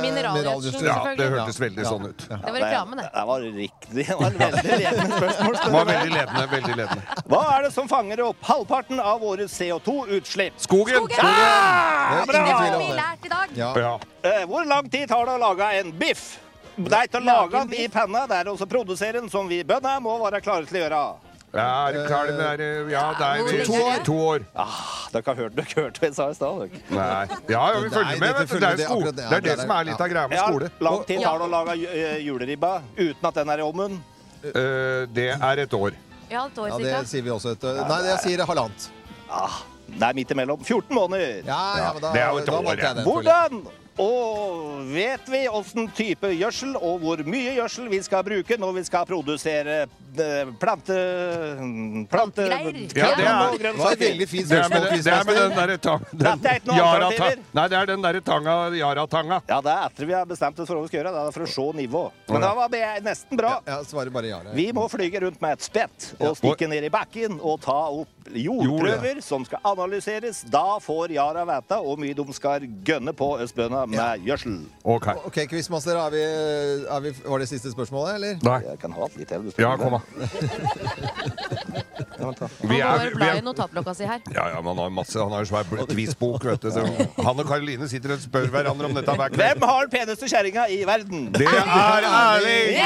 [SPEAKER 13] Mineralgjødsel,
[SPEAKER 4] selvfølgelig. Ja, det hørtes Eh, veldig sånn ut.
[SPEAKER 8] Det var reklame, det.
[SPEAKER 12] Det var riktig. Det var et veldig ledende spørsmål.
[SPEAKER 4] Den var veldig ledende. veldig ledende.
[SPEAKER 12] Hva er det som fanger opp halvparten av våre CO2-utslipp?
[SPEAKER 4] Skogen! Skogen!
[SPEAKER 12] Ah,
[SPEAKER 4] Det er ingen
[SPEAKER 12] bra!
[SPEAKER 4] tvil om det. Lært
[SPEAKER 8] i dag.
[SPEAKER 4] Ja.
[SPEAKER 12] Eh, Hvor lang tid tar det å lage en biff? Nei, til å lage den i panna, det er også produsere den som vi bøndene må være klare til å gjøre.
[SPEAKER 4] Ja, er du klar, den der eh, Ja, der
[SPEAKER 12] Hvor
[SPEAKER 4] vi-
[SPEAKER 12] lenge er det?
[SPEAKER 4] To år.
[SPEAKER 12] Ah, Dere har hørt, dere hørte hva jeg sa i stad, dere.
[SPEAKER 4] Nei. Ja, ja, vi følger med. Vet du. Det er jo skole. Det er det som er litt av greia med
[SPEAKER 12] Ja,
[SPEAKER 4] skole.
[SPEAKER 12] lang tid tar det å lage ju- eh, juleribba uten at den er i ovnen?
[SPEAKER 4] Eh, Det er et år.
[SPEAKER 8] Ja, et år
[SPEAKER 1] Ja,
[SPEAKER 8] cirka.
[SPEAKER 1] det sier vi også. Et, eh, nei, jeg sier halvannet.
[SPEAKER 12] Ah, det er midt imellom. 14 måneder.
[SPEAKER 1] ja, men da- Det er jo et da år, vant jeg ja. den,
[SPEAKER 12] Hvordan og vet vi åssen type gjødsel og hvor mye gjødsel vi skal bruke når vi skal produsere eh, plante... plante
[SPEAKER 4] Plantegreier. Ja, det er-
[SPEAKER 12] og grønnsaker?
[SPEAKER 1] var et veldig fint
[SPEAKER 4] Det er med,
[SPEAKER 1] spørsmål.
[SPEAKER 4] den- det er med den derre tang... Den,
[SPEAKER 12] Dette er ikke noe alternativer.
[SPEAKER 4] Yara-tang- Nei, det er den derre tanga, Yara-tanga.
[SPEAKER 12] Ja, det er etter vi har bestemt oss for hva vi skal gjøre. Det er for å se nivå. Men
[SPEAKER 4] Ja.
[SPEAKER 12] det var be- nesten bra.
[SPEAKER 1] Jeg svarer bare ja.
[SPEAKER 12] Vi må flyge rundt med et spett og stikke ned i bakken og ta opp jordprøver som skal analyseres. Da får Yara vite hvor mye de skal gønne på østbøna med gjødsel.
[SPEAKER 4] Ok.
[SPEAKER 1] Ok, Quizmaster, er vi, er vi, var det siste spørsmålet, eller?
[SPEAKER 4] Nei.
[SPEAKER 12] Jeg kan ha et litt til.
[SPEAKER 4] Ja, kom da. Vi
[SPEAKER 8] Han går
[SPEAKER 4] er, vi
[SPEAKER 8] bla i
[SPEAKER 4] er,
[SPEAKER 8] notatblokka si her.
[SPEAKER 4] ja, ja, men han har masse, han har en svær bl- quizbok, vet du. Så han og Karoline sitter og spør hverandre om dette hver kveld.
[SPEAKER 12] Hvem har den peneste kjerringa i verden?
[SPEAKER 4] Det er Erling!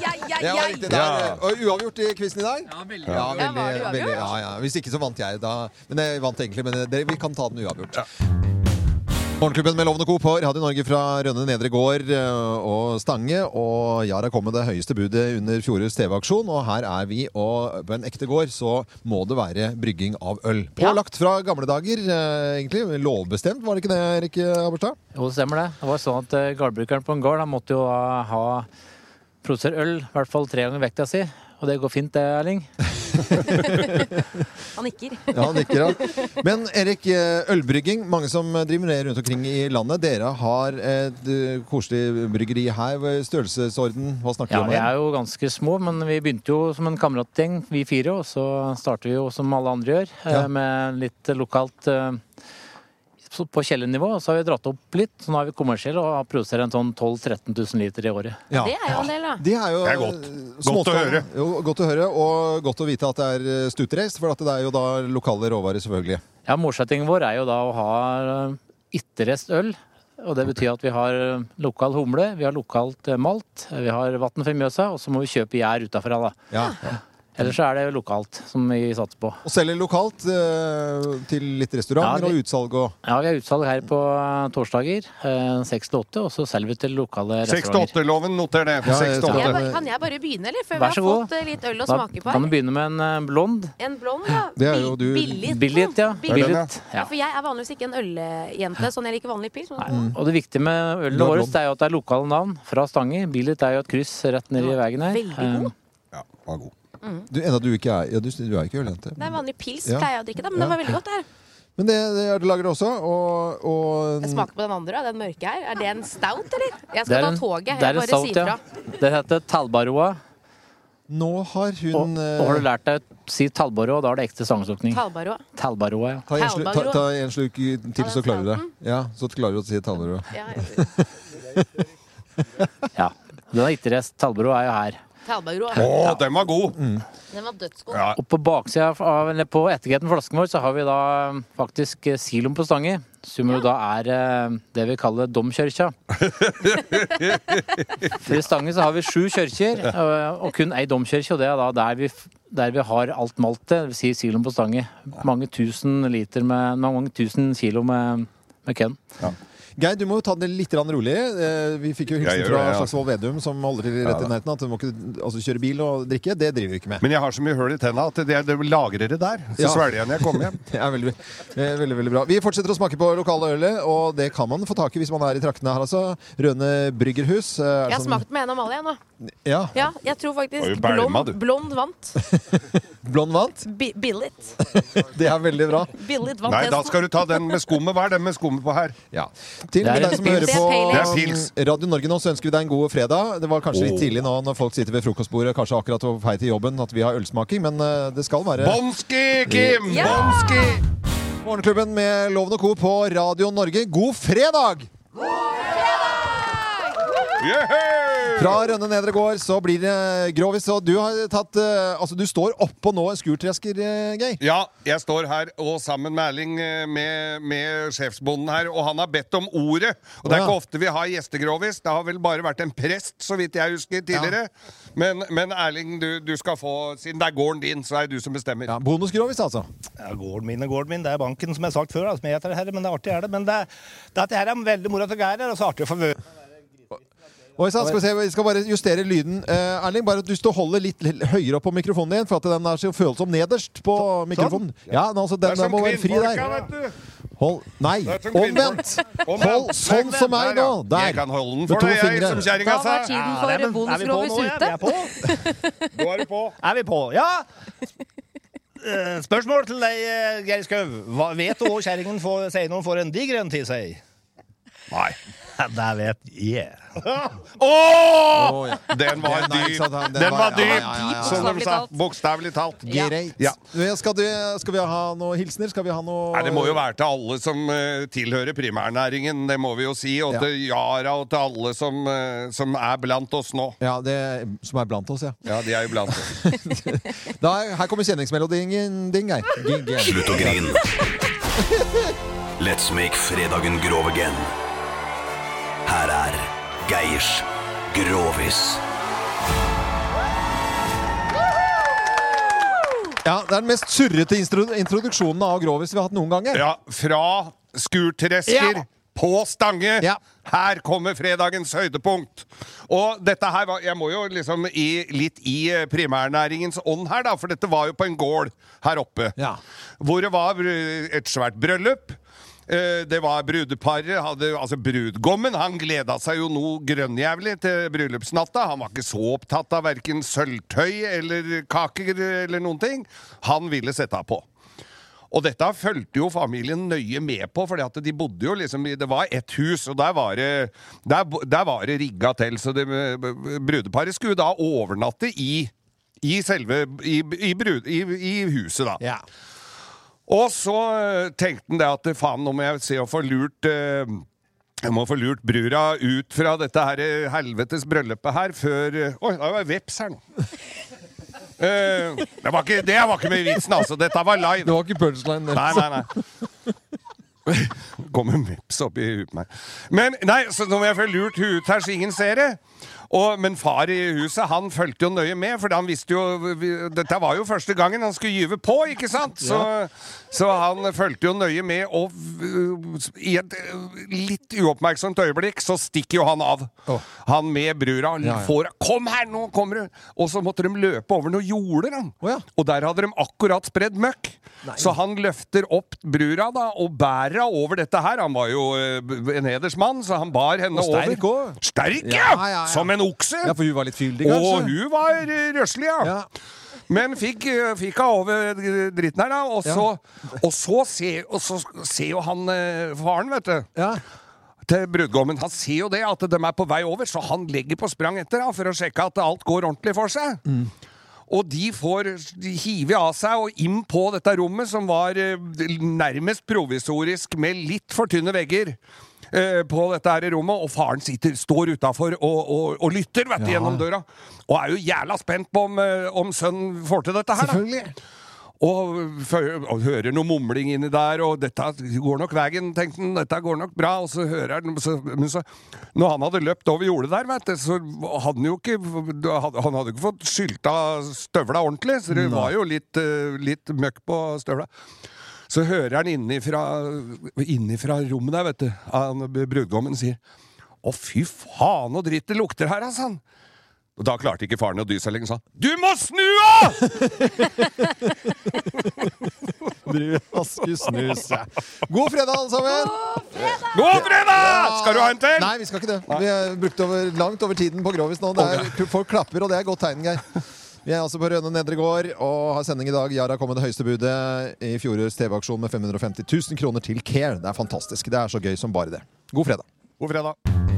[SPEAKER 1] Det var riktig. Der.
[SPEAKER 4] Ja.
[SPEAKER 1] Og uavgjort i quizen i dag? Ja,
[SPEAKER 4] veldig.
[SPEAKER 1] Ja,
[SPEAKER 4] Ja,
[SPEAKER 1] veldig, veldig ja, ja. Hvis ikke så vant jeg. Da. Men jeg vant egentlig, men dere, vi kan ta den uavgjort. Morgenklubben med Lovende Co. på Radio Norge fra Rønne Nedre Gård eh, og Stange. Og Yara kom med det høyeste budet under fjorårets TV-aksjon, og her er vi. Og på en ekte gård så må det være brygging av øl. Pålagt fra gamle dager, eh, egentlig. Lovbestemt, var det ikke det, Erik Aberstad?
[SPEAKER 14] Jo, det stemmer det. Det var sånn at eh, gårdbrukeren på en gård han måtte jo ha, ha produsere øl, i hvert fall tre ganger vekta si. Og det går fint det, Erling.
[SPEAKER 8] Han nikker.
[SPEAKER 1] Ja, han nikker, ja. Men Erik, eh, ølbrygging. Mange som eh, driver med det rundt omkring i landet. Dere har et eh, koselig bryggeri her. Hva er Størrelsesorden, hva snakker
[SPEAKER 14] Ja,
[SPEAKER 1] vi om?
[SPEAKER 14] vi
[SPEAKER 1] her?
[SPEAKER 14] er jo ganske små, men vi begynte jo som en kameratgjeng, vi fire. Og så starter vi jo som alle andre gjør, eh,
[SPEAKER 1] Ja.
[SPEAKER 14] med litt lokalt eh, så på kjellernivå. Og så har vi dratt opp litt, så nå er vi kommersielle og produserer en sånn 12 000-13 000 liter i året.
[SPEAKER 1] Ja.
[SPEAKER 8] Det er jo en del, da.
[SPEAKER 1] Det er jo
[SPEAKER 14] Det er godt.
[SPEAKER 1] eh,
[SPEAKER 14] Godt å
[SPEAKER 1] småskala.
[SPEAKER 14] høre.
[SPEAKER 1] Jo, godt å høre, og godt å vite at det er eh, stuttreist, for at det er jo da lokale råvarer, selvfølgelig.
[SPEAKER 14] Ja, Målsettingen vår er jo da å ha eh, ytterrest øl. Og det betyr at vi har eh, lokal humle, vi har lokalt eh, malt, vi har vann fra Mjøsa, og så må vi kjøpe gjær utafra, da. Ellers så er det lokalt som vi satser på.
[SPEAKER 1] Og selger lokalt eh, til litt
[SPEAKER 14] Ja, vi-
[SPEAKER 1] restauranter og utsalg og
[SPEAKER 14] Ja, vi har utsalg her på eh, torsdager eh, seks til åtte, og så selger vi til lokale restauranter.
[SPEAKER 4] 6-8-loven, noter det.
[SPEAKER 14] Ja,
[SPEAKER 4] Seks til
[SPEAKER 14] takk.
[SPEAKER 4] åtte.
[SPEAKER 14] Jeg
[SPEAKER 8] Kan jeg- kan jeg bare begynne, eller? Før vi
[SPEAKER 14] Vær
[SPEAKER 8] har
[SPEAKER 14] så god.
[SPEAKER 8] fått eh, litt øl å
[SPEAKER 14] Da
[SPEAKER 8] smake på
[SPEAKER 14] Kan
[SPEAKER 8] her.
[SPEAKER 14] du begynne med en eh, blond?
[SPEAKER 8] En blond, da.
[SPEAKER 14] Det er jo du-
[SPEAKER 8] Billit.
[SPEAKER 14] Billit, ja.
[SPEAKER 8] Billit.
[SPEAKER 14] Det er den, ja.
[SPEAKER 8] Ja, for jeg er vanligvis ikke en øljente, sånn jeg liker vanlig pils. men-
[SPEAKER 14] Og det viktige med ølet
[SPEAKER 1] Du er
[SPEAKER 14] vårt
[SPEAKER 1] blond.
[SPEAKER 14] det er jo at det er lokale navn fra Stange. Billit er jo et kryss rett nedi veien her. Eh,
[SPEAKER 8] veldig god.
[SPEAKER 14] Ja,
[SPEAKER 1] var god.
[SPEAKER 8] Mm.
[SPEAKER 1] Du, enda du ikke er ja, du, du er ikke ølente.
[SPEAKER 8] Det er vanlig pils,
[SPEAKER 1] Ja.
[SPEAKER 8] pleier jeg å drikke, da, men
[SPEAKER 1] Ja.
[SPEAKER 8] det var veldig godt. det her.
[SPEAKER 1] Men det, det er- du lager det også, og, og
[SPEAKER 8] Jeg smaker på den andre, da, den mørke her. Er det en stout, eller? Jeg
[SPEAKER 14] Det
[SPEAKER 8] skal
[SPEAKER 14] er
[SPEAKER 8] ta
[SPEAKER 14] en-
[SPEAKER 8] toget.
[SPEAKER 14] det er
[SPEAKER 8] Jeg
[SPEAKER 14] en
[SPEAKER 8] bare
[SPEAKER 14] stout,
[SPEAKER 8] sier
[SPEAKER 14] ja.
[SPEAKER 8] fra.
[SPEAKER 14] Det heter Talbaroa.
[SPEAKER 1] Nå har hun
[SPEAKER 14] og,
[SPEAKER 1] eh,
[SPEAKER 14] og har du lært deg å si Talbaroa, da er det ekte sangslukning.
[SPEAKER 8] Talbaro.
[SPEAKER 14] Talbaroa, ja.
[SPEAKER 1] Ta en, slu, ta, ta en sluk til, så klarer du det. Ja, så klarer du å si Tallerud.
[SPEAKER 8] Ja,
[SPEAKER 14] ja. Den er itterest. Talbro er jo her.
[SPEAKER 15] Talbagro.
[SPEAKER 14] Å,
[SPEAKER 4] den var god!
[SPEAKER 15] Den var dødsgod.
[SPEAKER 14] Og på baksida av eller på etiketten flasken vår så har vi da eh, faktisk eh, siloen på stange, som jo da er eh, det vi kaller domkirka. For i Stange så har vi sju kirker, og, og kun ei domkirke, og det er da der vi, f- der vi har alt maltet, dvs. Si siloen på Stange. Mange tusen liter med Mange tusen kilo med, med kønn.
[SPEAKER 1] Geir, du må jo ta det litt grann rolig. Eh, Vi fikk jo hilsen
[SPEAKER 4] Jeg gjør
[SPEAKER 1] fra
[SPEAKER 4] det, ja.
[SPEAKER 1] Slagsvold Vedum, som holder til
[SPEAKER 4] Ja,
[SPEAKER 1] rett
[SPEAKER 4] da.
[SPEAKER 1] i nærheten, at du må ikke altså, kjøre bil og drikke. Det driver vi ikke med.
[SPEAKER 4] Men jeg har så mye høl i tenna at det, det lagrer det der. Så
[SPEAKER 1] Ja.
[SPEAKER 4] svelger jeg når jeg kommer hjem.
[SPEAKER 1] Det er veldig, eh, veldig, veldig bra. Vi fortsetter å smake på lokale ølet, og det kan man få tak i hvis man er i traktene her, altså. Røne Bryggerhus. eh, er det
[SPEAKER 15] Jeg har
[SPEAKER 1] sånn-
[SPEAKER 15] smakt med en Amalie nå.
[SPEAKER 1] Ja.
[SPEAKER 15] Ja, jeg tror
[SPEAKER 1] Oi,
[SPEAKER 15] faktisk
[SPEAKER 1] bælma,
[SPEAKER 15] blond,
[SPEAKER 1] du.
[SPEAKER 15] blond vant.
[SPEAKER 1] Blond vant.
[SPEAKER 15] Bi billet.
[SPEAKER 1] Det er veldig bra.
[SPEAKER 15] Billet vant
[SPEAKER 4] Nei, da
[SPEAKER 15] testen.
[SPEAKER 4] skal du ta den med skummet. Hva er den med skummet på her?
[SPEAKER 1] Til
[SPEAKER 4] Det er
[SPEAKER 1] deg som
[SPEAKER 4] pils.
[SPEAKER 1] hører
[SPEAKER 4] Det er Oh.
[SPEAKER 1] på
[SPEAKER 4] pale ale.
[SPEAKER 1] um, Radio Norge nå, så ønsker vi deg en god fredag. Det var kanskje litt
[SPEAKER 4] Åh.
[SPEAKER 1] tidlig nå når folk sitter ved frokostbordet kanskje akkurat på vei til jobben at vi har ølsmaking, men eh, det skal være
[SPEAKER 4] Bonski, Kim! Bonski!
[SPEAKER 1] Morgenklubben med Loven og Co. på Radio Norge. God fredag! Fra Rønne Nedre Gård så blir det grovis, og du har tatt eh, Altså, du står oppå nå en skurtresker, eh, Geir.
[SPEAKER 4] Ja, jeg står her og sammen med Erling, eh, med, med sjefsbonden her, og han har bedt om ordet. Og det er
[SPEAKER 1] Å, ja.
[SPEAKER 4] ikke ofte vi har gjestegrovis. Det har vel bare vært en prest, så vidt jeg husker, tidligere. Men, men Erling, du, du skal få Siden det er gården din, så er det du som bestemmer.
[SPEAKER 1] Ja, Bonusgrovis, altså.
[SPEAKER 12] Ja, gården min og gården min. Det er banken, som jeg har sagt før. da, Som jeg heter her, men det er artig er det. Men det er, det er at det her er veldig moro at Geir er her, og så artig å få være
[SPEAKER 1] Oi sann, skal vi se, vi skal bare justere lyden. Eh, Erling, bare at du står holder litt l- høyere opp på mikrofonen din, for at den er så følsom nederst på
[SPEAKER 4] Sånn.
[SPEAKER 1] mikrofonen. Ja, men altså, den, den må være fri der. Hold Nei,
[SPEAKER 4] Det er som
[SPEAKER 1] omvendt!
[SPEAKER 4] kvinnfolk. Omvendt.
[SPEAKER 1] Hold sånn som meg nå! Der.
[SPEAKER 4] Jeg kan holde den
[SPEAKER 1] Med
[SPEAKER 4] for
[SPEAKER 1] to
[SPEAKER 4] deg, jeg,
[SPEAKER 1] fingre.
[SPEAKER 4] som kjerringa
[SPEAKER 12] Da
[SPEAKER 4] sa.
[SPEAKER 12] var tiden for
[SPEAKER 4] Ja, nei, men
[SPEAKER 12] bonus-
[SPEAKER 4] er vi på nå,
[SPEAKER 12] grovis
[SPEAKER 4] ja?
[SPEAKER 12] ute.
[SPEAKER 4] Vi er på. Nå er du på.
[SPEAKER 12] Er vi på? Ja! Eh, Spørsmål til deg, eh, Geir Skau. Hva vet du hva kjerringen får- sier når hun får en diger en til seg? Nei. Det vet jeg.
[SPEAKER 4] Åh!
[SPEAKER 12] Åh, ja.
[SPEAKER 4] Den var
[SPEAKER 12] Den er ikke
[SPEAKER 4] dyp!
[SPEAKER 12] sant, den- den
[SPEAKER 4] Den
[SPEAKER 12] var-
[SPEAKER 4] var
[SPEAKER 12] ja,
[SPEAKER 4] dyp,
[SPEAKER 12] ja, ja, ja.
[SPEAKER 4] som de sa. Bokstavelig talt.
[SPEAKER 1] Greit.
[SPEAKER 4] Ja.
[SPEAKER 1] Men Skal, du, skal vi ha noen hilsener? Skal vi ha noe
[SPEAKER 4] Nei, det må jo være til alle som eh, tilhører primærnæringen, det må vi jo si. Og til Yara og til alle som, eh, som er blant oss nå.
[SPEAKER 1] Ja, det som er blant oss, ja.
[SPEAKER 4] Ja, de er jo blant oss.
[SPEAKER 1] Da, her kommer kjenningsmelodien din, Geir. Din, Geir.
[SPEAKER 5] Slutt å grine. Let's make fredagen grov again. Her er Geirs Grovis.
[SPEAKER 1] Ja, det er den mest surrete instro introduksjonen av Grovis vi har hatt noen ganger.
[SPEAKER 4] Ja, fra skurtresker
[SPEAKER 1] Ja.
[SPEAKER 4] på Stange. Her kommer fredagens høydepunkt. Og dette her var Jeg må jo liksom i, litt i eh, primærnæringens ånd her, da, for dette var jo på en gård her oppe. Hvor det var eh, et svært bryllup. Eh, Det var brudeparet, hadde, altså brudgommen, han gleda seg jo noe grønnjævlig til bryllupsnatta. Han var ikke så opptatt av verken sølvtøy eller kaker eller noen ting. Han ville sette av på. Og dette fulgte jo familien nøye med på, for de bodde jo liksom i Det var ett hus, og der var det, der, bo- der var det rigga til. Så det, brudeparet skulle da overnatte i, i selve i, i, brud, i, i huset, da. Og så eh, tenkte han det at faen, nå må jeg se å få lurt eh, jeg må få lurt brura ut fra dette her eh, helvetes bryllupet her før eh, Oi, det var veps her nå. Eh, det, var ikke, det var ikke med i vitsen, altså. Dette var live. Det
[SPEAKER 1] var ikke punchline.
[SPEAKER 4] Nei, nei, nei. Kommer veps opp i huet på meg. Men nei, så nå må jeg få lurt huet ut her, så ingen ser det. Og, men far i huset han fulgte jo nøye med, for han visste jo vi- Dette var jo første gangen han skulle gyve på, ikke sant? Så, så han fulgte jo nøye med, og øh, i et øh, litt uoppmerksomt øyeblikk så stikker jo han av. Han med brura
[SPEAKER 1] Ja, ja.
[SPEAKER 4] får 'Kom her, nå kommer du!' Og så måtte de løpe over noen jorder, da. Og der hadde de akkurat spredd møkk. Så han løfter opp brura da, og bærer henne over dette her. Han var jo eh, b- en hedersmann, så han bar henne
[SPEAKER 1] Og sterk
[SPEAKER 4] over.
[SPEAKER 1] også.
[SPEAKER 4] Sterk, ja!
[SPEAKER 1] Ja, ja, ja.
[SPEAKER 4] Som en okse!
[SPEAKER 1] Ja, for hun var litt fyldig,
[SPEAKER 4] Og
[SPEAKER 1] kanskje?
[SPEAKER 4] hun var eh, røslig, ja. Men fikk, eh, fikk han over eh, dritten her, da. Og så, og så, ser, og så ser jo han eh, faren, vet du. Til brudgommen. Han ser jo det, at de er på vei over, så han legger på sprang etter da, for å sjekke at alt går ordentlig for seg. Og de får de hive av seg og inn på dette rommet, som var eh, nærmest provisorisk med litt for tynne vegger. eh, på dette her i rommet, og faren sitter, står utafor og, og, og lytter vet du,
[SPEAKER 16] Ja.
[SPEAKER 4] gjennom døra. Og er jo jævla spent på om, eh, om sønnen får til dette her. Selvfølgelig. Og, fø- og hører noe mumling inni der, og 'dette går nok veien', tenkte han. 'Dette går nok bra', og så hører han så, Men så, når han hadde løpt over jordet der, vet du, så hadde han jo ikke Han hadde ikke fått skylta støvla ordentlig, så det
[SPEAKER 16] Nei.
[SPEAKER 4] var jo litt, eh, litt møkk på støvla. Så hører han innifra, innifra rommet der, vet du, han brudgommen sier 'Å, fy faen, så dritt det lukter her', altså. han». Og da klarte ikke faren å dy seg lenger, sa han. Du må snu av!
[SPEAKER 1] Aske snus. God fredag, alle sammen!
[SPEAKER 4] God fredag! Skal du ha en til?
[SPEAKER 1] Nei, vi skal ikke det. Vi har brukt over, langt over tiden på Grovis nå. Det er, folk klapper, og det er godt tegn, Geir. Vi er altså på Rønne Nedre Gård og har sending i dag. Yara kom med det høyeste budet i fjorårets TV-aksjon med 550 000 kroner til Care. Det er fantastisk. Det er så gøy som bare det. God fredag.
[SPEAKER 4] God fredag.